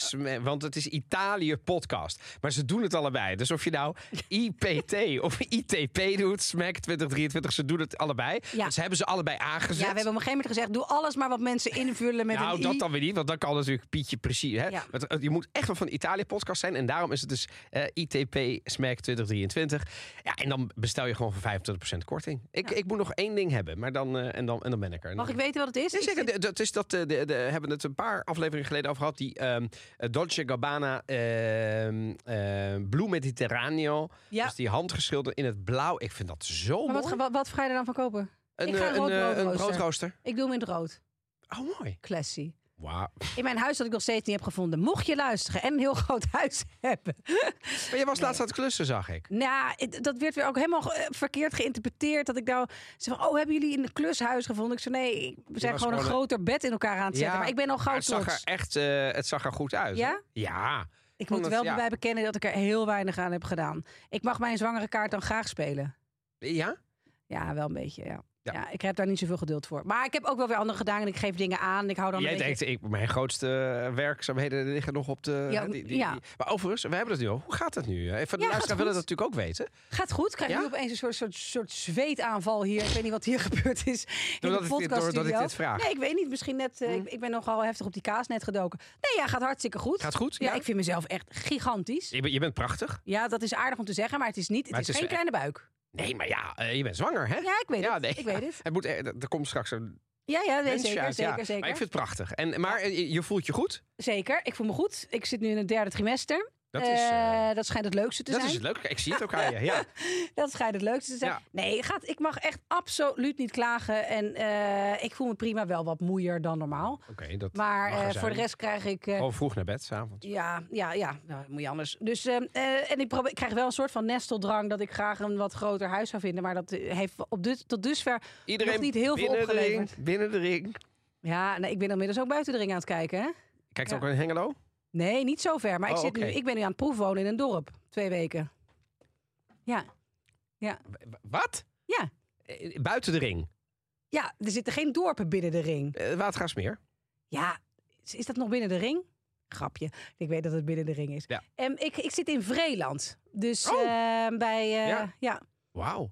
B: Sme- eh, Want het is Italië podcast. Maar ze doen het allebei. Dus of je
A: <laughs>
B: nou IPT of ITP doet, Smack 2023, ze doen het allebei.
A: Ja.
B: Want ze hebben ze allebei aangezet.
A: Ja, we hebben op een gegeven moment gezegd, doe alles maar wat mensen invullen met
B: nou,
A: een
B: dat
A: i.
B: dan weer niet, want dan kan natuurlijk Pietje precies. Hè?
A: Ja.
B: Want, eh, je moet echt wel van Italië podcast zijn. En daarom is het dus eh, ITP Smack 2023. Ja, en dan bestel je gewoon voor 25% korting. Ik, ik moet nog één ding hebben, maar dan, eh, en, dan, en dan ben ik er. En
A: Mag
B: dan-
A: ik weten wat het is?
B: Nee, zeker. De- Dat is dat, eh, de, de, hebben het een paar afleveringen geleden over gehad. Die ehm, eh, Dolce Gabbana ehm eh Blue Mediterraneo.
A: Ja.
B: Dus die handgeschilderd in het blauw. Ik vind dat zo
A: Maar
B: mooi.
A: wat, ga- wat, wat ga je er dan van kopen?
B: een,
A: ik ga
B: eh,
A: een rood
B: eh, een
A: broodrooster.
B: broodrooster.
A: Ik doe hem in het rood.
B: Oh, mooi.
A: Classy.
B: Wauw.
A: In mijn huis dat ik nog steeds niet heb gevonden. Mocht je luisteren en een heel <laughs> groot huis hebben.
B: Maar jij was laatst aan het klussen, zag ik.
A: Nou, het- dat werd weer ook helemaal eh, verkeerd geïnterpreteerd. Dat ik nou zeg, oh, hebben jullie een klushuis gevonden? Ik zei, nee, we zijn
B: was
A: gewoon een
B: gewoon een-
A: groter bed in elkaar aan het zetten. Maar ik ben al
B: maar
A: gauw
B: het zag
A: trots.
B: er echt eh, het zag er goed uit.
A: Ja?
B: hoor. Ja.
A: Ik
B: vond
A: moet
B: het-
A: wel
B: ja.
A: bij bekennen dat ik er heel weinig aan heb gedaan. Ik mag mijn zwangere kaart dan graag spelen.
B: Ja?
A: Ja, wel een beetje, ja.
B: Ja.
A: Ja. ik heb daar niet zoveel geduld voor. Maar ik heb ook wel weer andere gedaan en ik geef dingen aan. en Ik hou dan
B: Jij
A: een beetje...
B: denkt, ik, mijn grootste eh, werkzaamheden liggen nog op de...
A: Ja, ja.
B: Maar overigens, we hebben het nu al. Hoe gaat het nu? Eh, Even de
A: Ja,
B: luisteraar
A: gaat
B: willen dat
A: goed.
B: natuurlijk ook weten.
A: Gaat goed. Ik Krijg
B: Ja?
A: nu opeens een soort, soort, soort zweetaanval hier. Ik weet niet wat hier <laughs> gebeurd is. in
B: Doordat
A: de
B: ik dit-
A: podcaststudio.
B: doordat ik dit vraag. Hm.
A: Nee, ik weet niet. Misschien net. eh, ik, ik ben nogal heftig op die kaas net gedoken. Nee, ja, gaat hartstikke goed.
B: Gaat goed,
A: Ja,
B: ja?
A: ik vind mezelf echt gigantisch.
B: Je, bent- je bent prachtig.
A: Ja, dat is aardig om te zeggen, maar het is niet. Het,
B: Maar
A: is,
B: het is
A: geen kleine buik.
B: Nee, maar ja, eh, je bent zwanger, hè?
A: Ja, ik weet het.
B: nee.
A: Ik weet het.
B: Het moet, eh, er er komt straks een
A: Ja, ja, nee,
B: mensje
A: zeker,
B: uit,
A: zeker,
B: ja.
A: zeker.
B: Maar ik vind het prachtig. En, maar eh, je- je voelt je goed.
A: Zeker. Ik voel me goed. Ik zit nu in het derde trimester.
B: Dat is, eh,
A: Eh, dat schijnt het leukste te
B: dat
A: zijn.
B: is het leuke. Kijk, Ik zie het ook
A: <laughs>
B: aan je. Ja.
A: Dat schijnt het leukste te zijn.
B: Ja.
A: Nee, gaat, ik mag echt absoluut niet klagen. En eh, ik voel me prima wel wat moeier dan normaal.
B: Oké, dat
A: Maar
B: mag er
A: eh,
B: zijn. Oh.
A: voor de rest krijg ik. eh,
B: Gewoon vroeg naar bed, s'avonds.
A: ja, ja, ja, nou, moet je anders. Dus, ehm, eh, en ik, probeer, ik krijg wel een soort van nesteldrang dat ik graag een wat groter huis zou vinden. Maar dat eh, heeft op dit tot dusver nog niet heel veel
B: binnen de
A: opgeleverd.
B: ring, binnen de ring.
A: Ja, nee, ik ben inmiddels ook buiten de ring aan het kijken. Hè?
B: Kijkt
A: Ja.
B: ook in Hengelo?
A: Nee, niet zo ver. Maar ik,
B: Oh,
A: zit nu,
B: oké.
A: ik ben nu aan het proefwonen in een dorp. Twee weken. Ja.
B: W- Wat?
A: Ja.
B: Eh, Buiten de ring.
A: ja, er zitten geen dorpen binnen de ring.
B: Eh, Watergraafsmeer.
A: Ja, is, is dat nog binnen de ring? Grapje. Ik weet dat het binnen de ring is.
B: Ja.
A: Ehm, ik, ik zit in Vreeland. Dus
B: Oh.
A: ehm, bij... eh,
B: Ja.
A: ja. Ja,
B: Wauw.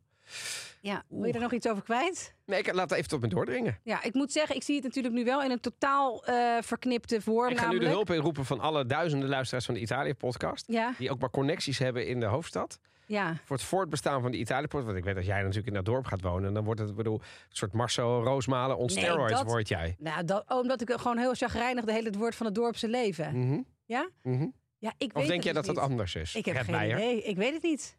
A: Wil je er nog iets over kwijt?
B: Nee, ik laat even tot me doordringen.
A: Ja, ik moet zeggen, ik zie het natuurlijk nu wel in een totaal eh, verknipte vorm.
B: Ik ga nu de
A: namelijk.
B: hulp inroepen van alle duizenden luisteraars van de Italië-podcast.
A: Ja,
B: Die ook maar connecties hebben in de hoofdstad.
A: ja.
B: voor het voortbestaan van de Italiëpoort. Want ik weet dat jij natuurlijk in dat dorp gaat wonen. En dan wordt het, ik bedoel, een soort Marcel Roosmalen on
A: Nee,
B: steroids
A: dat-
B: word jij.
A: Nou, dat, oh, omdat ik gewoon heel chagrijnig de hele het woord van het dorpse leven.
B: Mhm,
A: Ja?
B: mhm.
A: Ja, ik
B: Of
A: weet
B: denk
A: het
B: jij dat
A: dus
B: dat
A: niet.
B: anders is?
A: Ik heb
B: Gert
A: geen
B: Meijer?
A: idee. Ik weet het niet.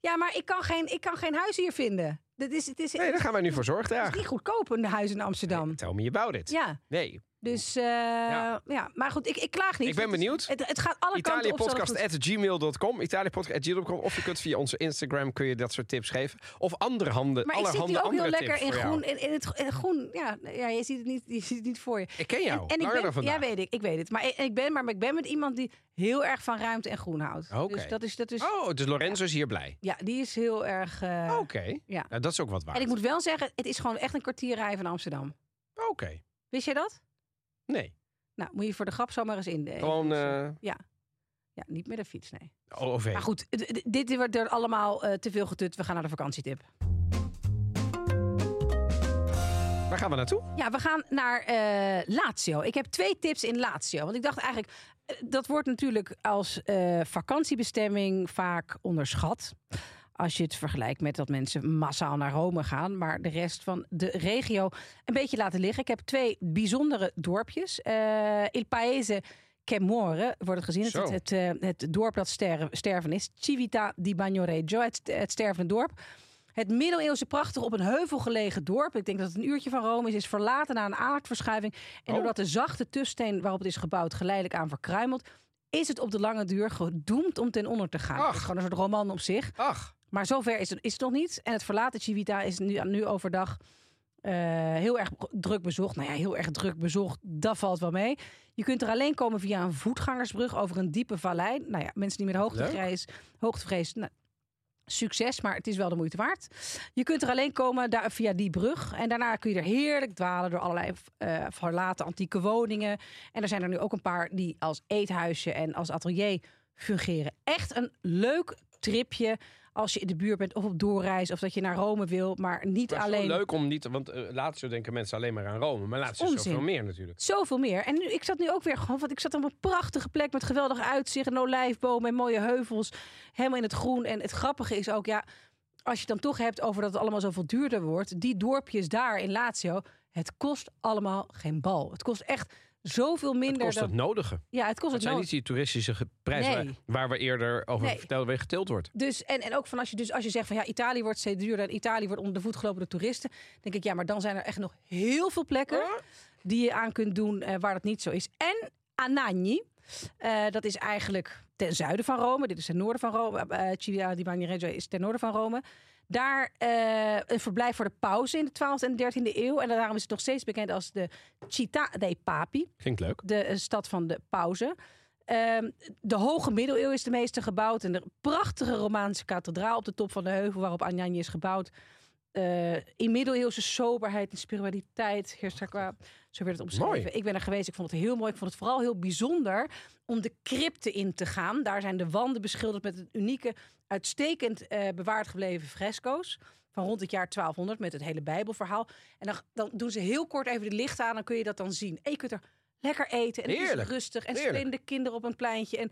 A: Ja, maar ik kan geen, ik kan geen huis hier vinden. Dat is, het is,
B: Nee, daar gaan wij nu voor zorg
A: het is
B: dragen.
A: niet goedkoop een huis in Amsterdam.
B: Tell me about it.
A: Ja,
B: Nee,
A: dus eh, ja. maar goed, ik, ik klaag niet.
B: Ik ben
A: Het is-
B: benieuwd.
A: Het, het gaat alle kanten op. zal het goed-
B: italiëpodcast.gmail.com. Italiëpodcast.gmail.com. Of je kunt via onze Instagram kun je dat soort tips geven. Of andere handen,
A: Maar ik zit
B: allerhande
A: nu ook
B: andere
A: heel lekker
B: tips
A: in
B: voor jou.
A: groen. In, in het, in het groen, ja, ja je, ziet het niet, je ziet het niet voor je.
B: Ik ken jou,
A: En, en ik
B: langer dan
A: ben,
B: vandaag.
A: ja, weet ik, ik weet het. Maar ik, ik ben, maar ik ben met iemand die heel erg van ruimte en groen houdt.
B: Oké.
A: Dus dat is, dat is
B: Oh, dus Lorenzo is hier blij.
A: ja, die is heel erg. eh,
B: Oké,
A: ja.
B: nou, dat is ook wat waard.
A: En ik moet wel zeggen, het is gewoon echt een kwartier rijden van Amsterdam.
B: Oké,
A: Wist jij dat?
B: nee.
A: Nou, moet je voor de grap zomaar eens in.
B: Gewoon eh oh,
A: Ja, niet met de fiets, nee.
B: OV.
A: Maar goed, d- d- dit wordt er allemaal eh, te veel getut. We gaan naar de vakantietip.
B: Waar gaan we naartoe?
A: Ja, we gaan naar eh, Lazio. Ik heb twee tips in Lazio. Want ik dacht eigenlijk, eh, dat wordt natuurlijk als eh, vakantiebestemming vaak onderschat. Als je het vergelijkt met dat mensen massaal naar Rome gaan. Maar de rest van de regio een beetje laten liggen. Ik heb twee bijzondere dorpjes. Eh, Il Paese Chemore wordt het gezien. Het,
B: Zo.
A: het, het, eh, het dorp dat sterven, sterven is. Civita di Bagnoregio, het, het stervende dorp. Het middeleeuwse prachtig op een heuvel gelegen dorp. Ik denk dat het een uurtje van Rome is. Is verlaten na een aardverschuiving. En
B: Oh.
A: doordat de zachte tufsteen waarop het is gebouwd geleidelijk aan verkruimelt. Is het op de lange duur gedoemd om ten onder te gaan?
B: Ach.
A: Het is gewoon een soort roman op zich.
B: Ach,
A: Maar zover is het, is het nog niet. En het verlaten Civita is nu, nu overdag eh, heel erg druk bezocht. Nou ja, heel erg druk bezocht, dat valt wel mee. Je kunt er alleen komen via een voetgangersbrug over een diepe vallei. Nou ja, mensen die met hoogtevrees, hoogtevrees nou, succes, maar het is wel de moeite waard. Je kunt er alleen komen daar, via die brug. En daarna kun je er heerlijk dwalen door allerlei eh, verlaten antieke woningen. En er zijn er nu ook een paar die als eethuisje en als atelier fungeren. Echt een leuk tripje als je in de buurt bent of op doorreis of dat je naar Rome wil, maar niet
B: maar alleen...
A: alleen.
B: leuk om niet... Want eh, laatst denken mensen alleen maar aan Rome. Maar laatst is er
A: Onzin.
B: zoveel meer natuurlijk.
A: Zoveel meer. En nu, ik zat nu ook weer gewoon, want ik zat op een prachtige plek met geweldig uitzicht en olijfbomen en mooie heuvels. Helemaal in het groen. En het grappige is ook, ja, als je het dan toch hebt over dat het allemaal zoveel duurder wordt. Die dorpjes daar in Lazio, het kost allemaal geen bal. Het kost echt zoveel
B: Het
A: minder
B: kost het
A: dan...
B: nodige.
A: Ja, het kost
B: Het
A: het
B: zijn
A: nood.
B: niet die toeristische ge- prijzen
A: Nee.
B: waar, waar we eerder over
A: Nee.
B: vertelden, weer getild wordt.
A: Dus, en, en ook van als je, dus als je zegt van ja, Italië wordt steeds duurder en Italië wordt onder de voet gelopen door toeristen. Denk ik ja, maar dan zijn er echt nog heel veel plekken die je aan kunt doen eh, waar dat niet zo is. En Anagni, eh, dat is eigenlijk ten zuiden van Rome. Dit is ten noorden van Rome. Eh, Civita di Bagnaregio is ten noorden van Rome. Daar eh, een verblijf voor de pauze in de 12e en 13e eeuw. En daarom is het nog steeds bekend als de Città dei Papi
B: Klinkt leuk.
A: de eh, stad van de pauze. Ehm, de hoge middeleeuwen is de meeste gebouwd. En de prachtige Romaanse kathedraal op de top van de heuvel waarop Anjanje is gebouwd. Eh, in middeleeuwse soberheid en spiritualiteit heerst daar qua. Zo werd het omschreven.
B: Mooi.
A: Ik ben er geweest. Ik vond het heel mooi. Ik vond het vooral heel bijzonder om de crypte in te gaan. Daar zijn de wanden beschilderd met een unieke, uitstekend eh, bewaard gebleven fresco's. Van rond het jaar 1200 met het hele Bijbelverhaal. En dan, dan doen ze heel kort even de lichten aan. Dan kun je dat dan zien. En je kunt er lekker eten. En het
B: Heerlijk.
A: is rustig. En
B: Heerlijk.
A: spelen de kinderen op een pleintje. En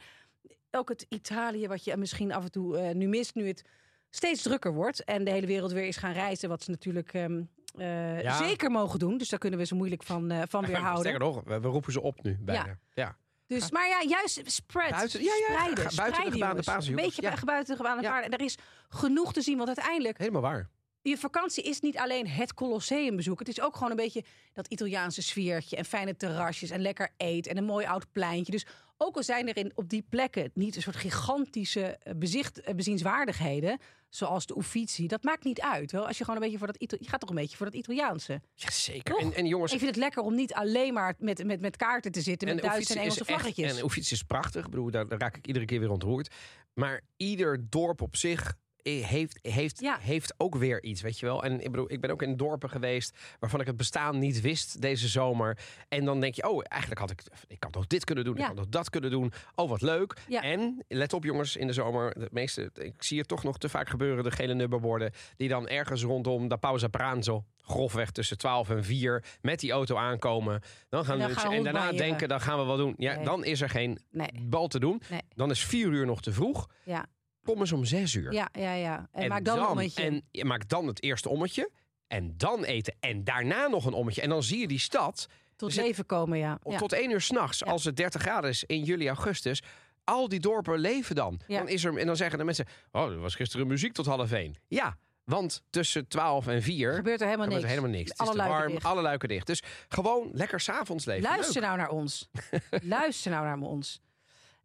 A: ook het Italië, wat je misschien af en toe eh, nu mist, nu het steeds drukker wordt en de hele wereld weer is gaan reizen, wat ze natuurlijk ehm, eh,
B: Ja.
A: zeker mogen doen. Dus daar kunnen we ze moeilijk van, eh,
B: <laughs>
A: van
B: Sterker
A: weerhouden.
B: nog, we, we roepen ze op nu bijna. Ja.
A: Dus, maar ja, juist spread,
B: Buiten- ja, ja, ga-
A: spreiden,
B: buiten de
A: spreiden,
B: gebaande
A: jongens.
B: pasen,
A: Een
B: jongens.
A: beetje
B: Ja.
A: bu- buiten de gebaande
B: Ja.
A: paarden. En er is genoeg te zien, want uiteindelijk
B: Helemaal waar.
A: je vakantie is niet alleen het Colosseum bezoeken. Het is ook gewoon een beetje dat Italiaanse sfeertje en fijne terrasjes en lekker eten en een mooi oud pleintje. Dus ook al zijn er in, op die plekken niet een soort gigantische eh, bezicht, eh, bezienswaardigheden, zoals de Uffizi, dat maakt niet uit. Wel, als je gewoon een beetje voor dat Ita- je gaat toch een beetje voor dat Italiaanse.
B: Jazeker.
A: Toch?
B: En, en jongens,
A: Ik vind het lekker om niet alleen maar met, met, met kaarten te zitten, met Duitse
B: Uffizi
A: en
B: is
A: Engelse
B: echt-
A: vlaggetjes.
B: En Oefits is prachtig. Ik bedoel, daar, daar raak ik iedere keer weer ontroerd. Maar ieder dorp op zich eh, heeft, heeft,
A: Ja.
B: heeft ook weer iets, weet je wel. En ik bedoel, ik ben ook in dorpen geweest waarvan ik het bestaan niet wist deze zomer. En dan denk je, oh, eigenlijk had ik, ik had nog dit kunnen doen,
A: Ja.
B: ik had nog dat kunnen doen. Oh, wat leuk.
A: Ja.
B: En, let op jongens, in de zomer, de meeste, ik zie het toch nog te vaak gebeuren, de gele nummerborden, die dan ergens rondom de Pausa Pranzo, grofweg tussen 12 en 4, met die auto aankomen. Dan gaan
A: En dan
B: we-
A: gaan
B: en daarna
A: rondbanjeren.
B: denken, dan gaan we wel doen. Ja,
A: Nee.
B: dan is er geen
A: Nee,
B: bal te doen.
A: Nee.
B: Dan is vier uur nog te vroeg.
A: ja,
B: Kom eens om zes uur.
A: ja, ja, ja. En, maak dan, een ommetje.
B: En je maakt dan het eerste ommetje. En dan eten. En daarna nog een ommetje. En dan zie je die stad
A: tot
B: er zit-
A: leven komen, ja.
B: op-
A: ja.
B: tot één uur s'nachts.
A: Ja.
B: Als het 30 graden is in juli, augustus. Al die dorpen leven dan.
A: Ja.
B: dan is er, en dan zeggen de mensen... Oh, er was gisteren muziek tot half één. Ja, want tussen 12 en 4
A: Gebeurt er helemaal niks.
B: helemaal niks. Het
A: Alle
B: is te
A: luiken
B: warm,
A: dicht.
B: alle luiken dicht. Dus gewoon lekker s'avonds leven.
A: Luister nou naar ons.
B: <laughs>
A: Luister nou naar ons.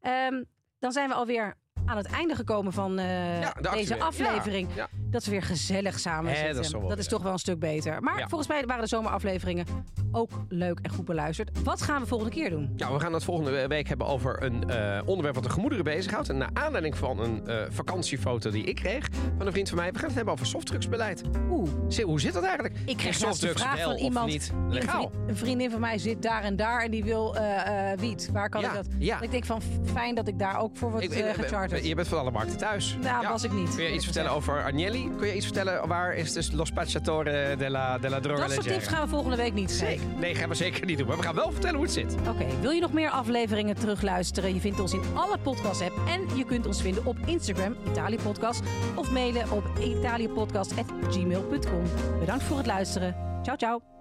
A: Ehm, dan zijn we alweer aan het einde gekomen van eh,
B: Ja, de
A: deze
B: actuele.
A: aflevering.
B: Ja, ja.
A: Dat we weer gezellig samen
B: Hè,
A: zitten.
B: dat is toch wel weer
A: toch wel een stuk beter. Maar
B: Ja.
A: volgens mij waren de zomerafleveringen ook leuk en goed beluisterd. Wat gaan we volgende keer doen?
B: Ja, we gaan het volgende week hebben over een eh, onderwerp wat de gemoederen bezighoudt. En naar aanleiding van een eh, vakantiefoto die ik kreeg van een vriend van mij. We gaan het hebben over softdrugsbeleid.
A: Oeh,
B: Zie, Hoe zit dat eigenlijk?
A: ik kreeg laatst
B: Is
A: de
B: softdrugs
A: vraag
B: wel
A: van
B: of
A: iemand.
B: niet
A: een vri-
B: legaal?
A: Een vriendin van mij zit daar en daar en die wil eh, eh, wiet. Waar kan
B: Ja,
A: ik dat?
B: ja.
A: Ik denk van fijn dat ik daar ook voor word
B: Ik-
A: eh,
B: ik-
A: gecharterd.
B: je bent van alle markten thuis.
A: nou, was ik niet.
B: Kun je
A: eerlijk
B: iets vertellen
A: gezegd.
B: over Agnelli? Kun je iets vertellen waar is dus Los Pacciatore della, della Droga
A: Dat soort
B: Leggera?
A: tips gaan we volgende week niet
B: Zeker
A: geven.
B: Nee, gaan we zeker niet doen. Maar we gaan wel vertellen hoe het zit.
A: Oké, wil je nog meer afleveringen terugluisteren? Je vindt ons in alle podcast-app en je kunt ons vinden op Instagram, Italiëpodcast, of mailen op italiëpodcast.gmail.com. Bedankt voor het luisteren. Ciao, ciao.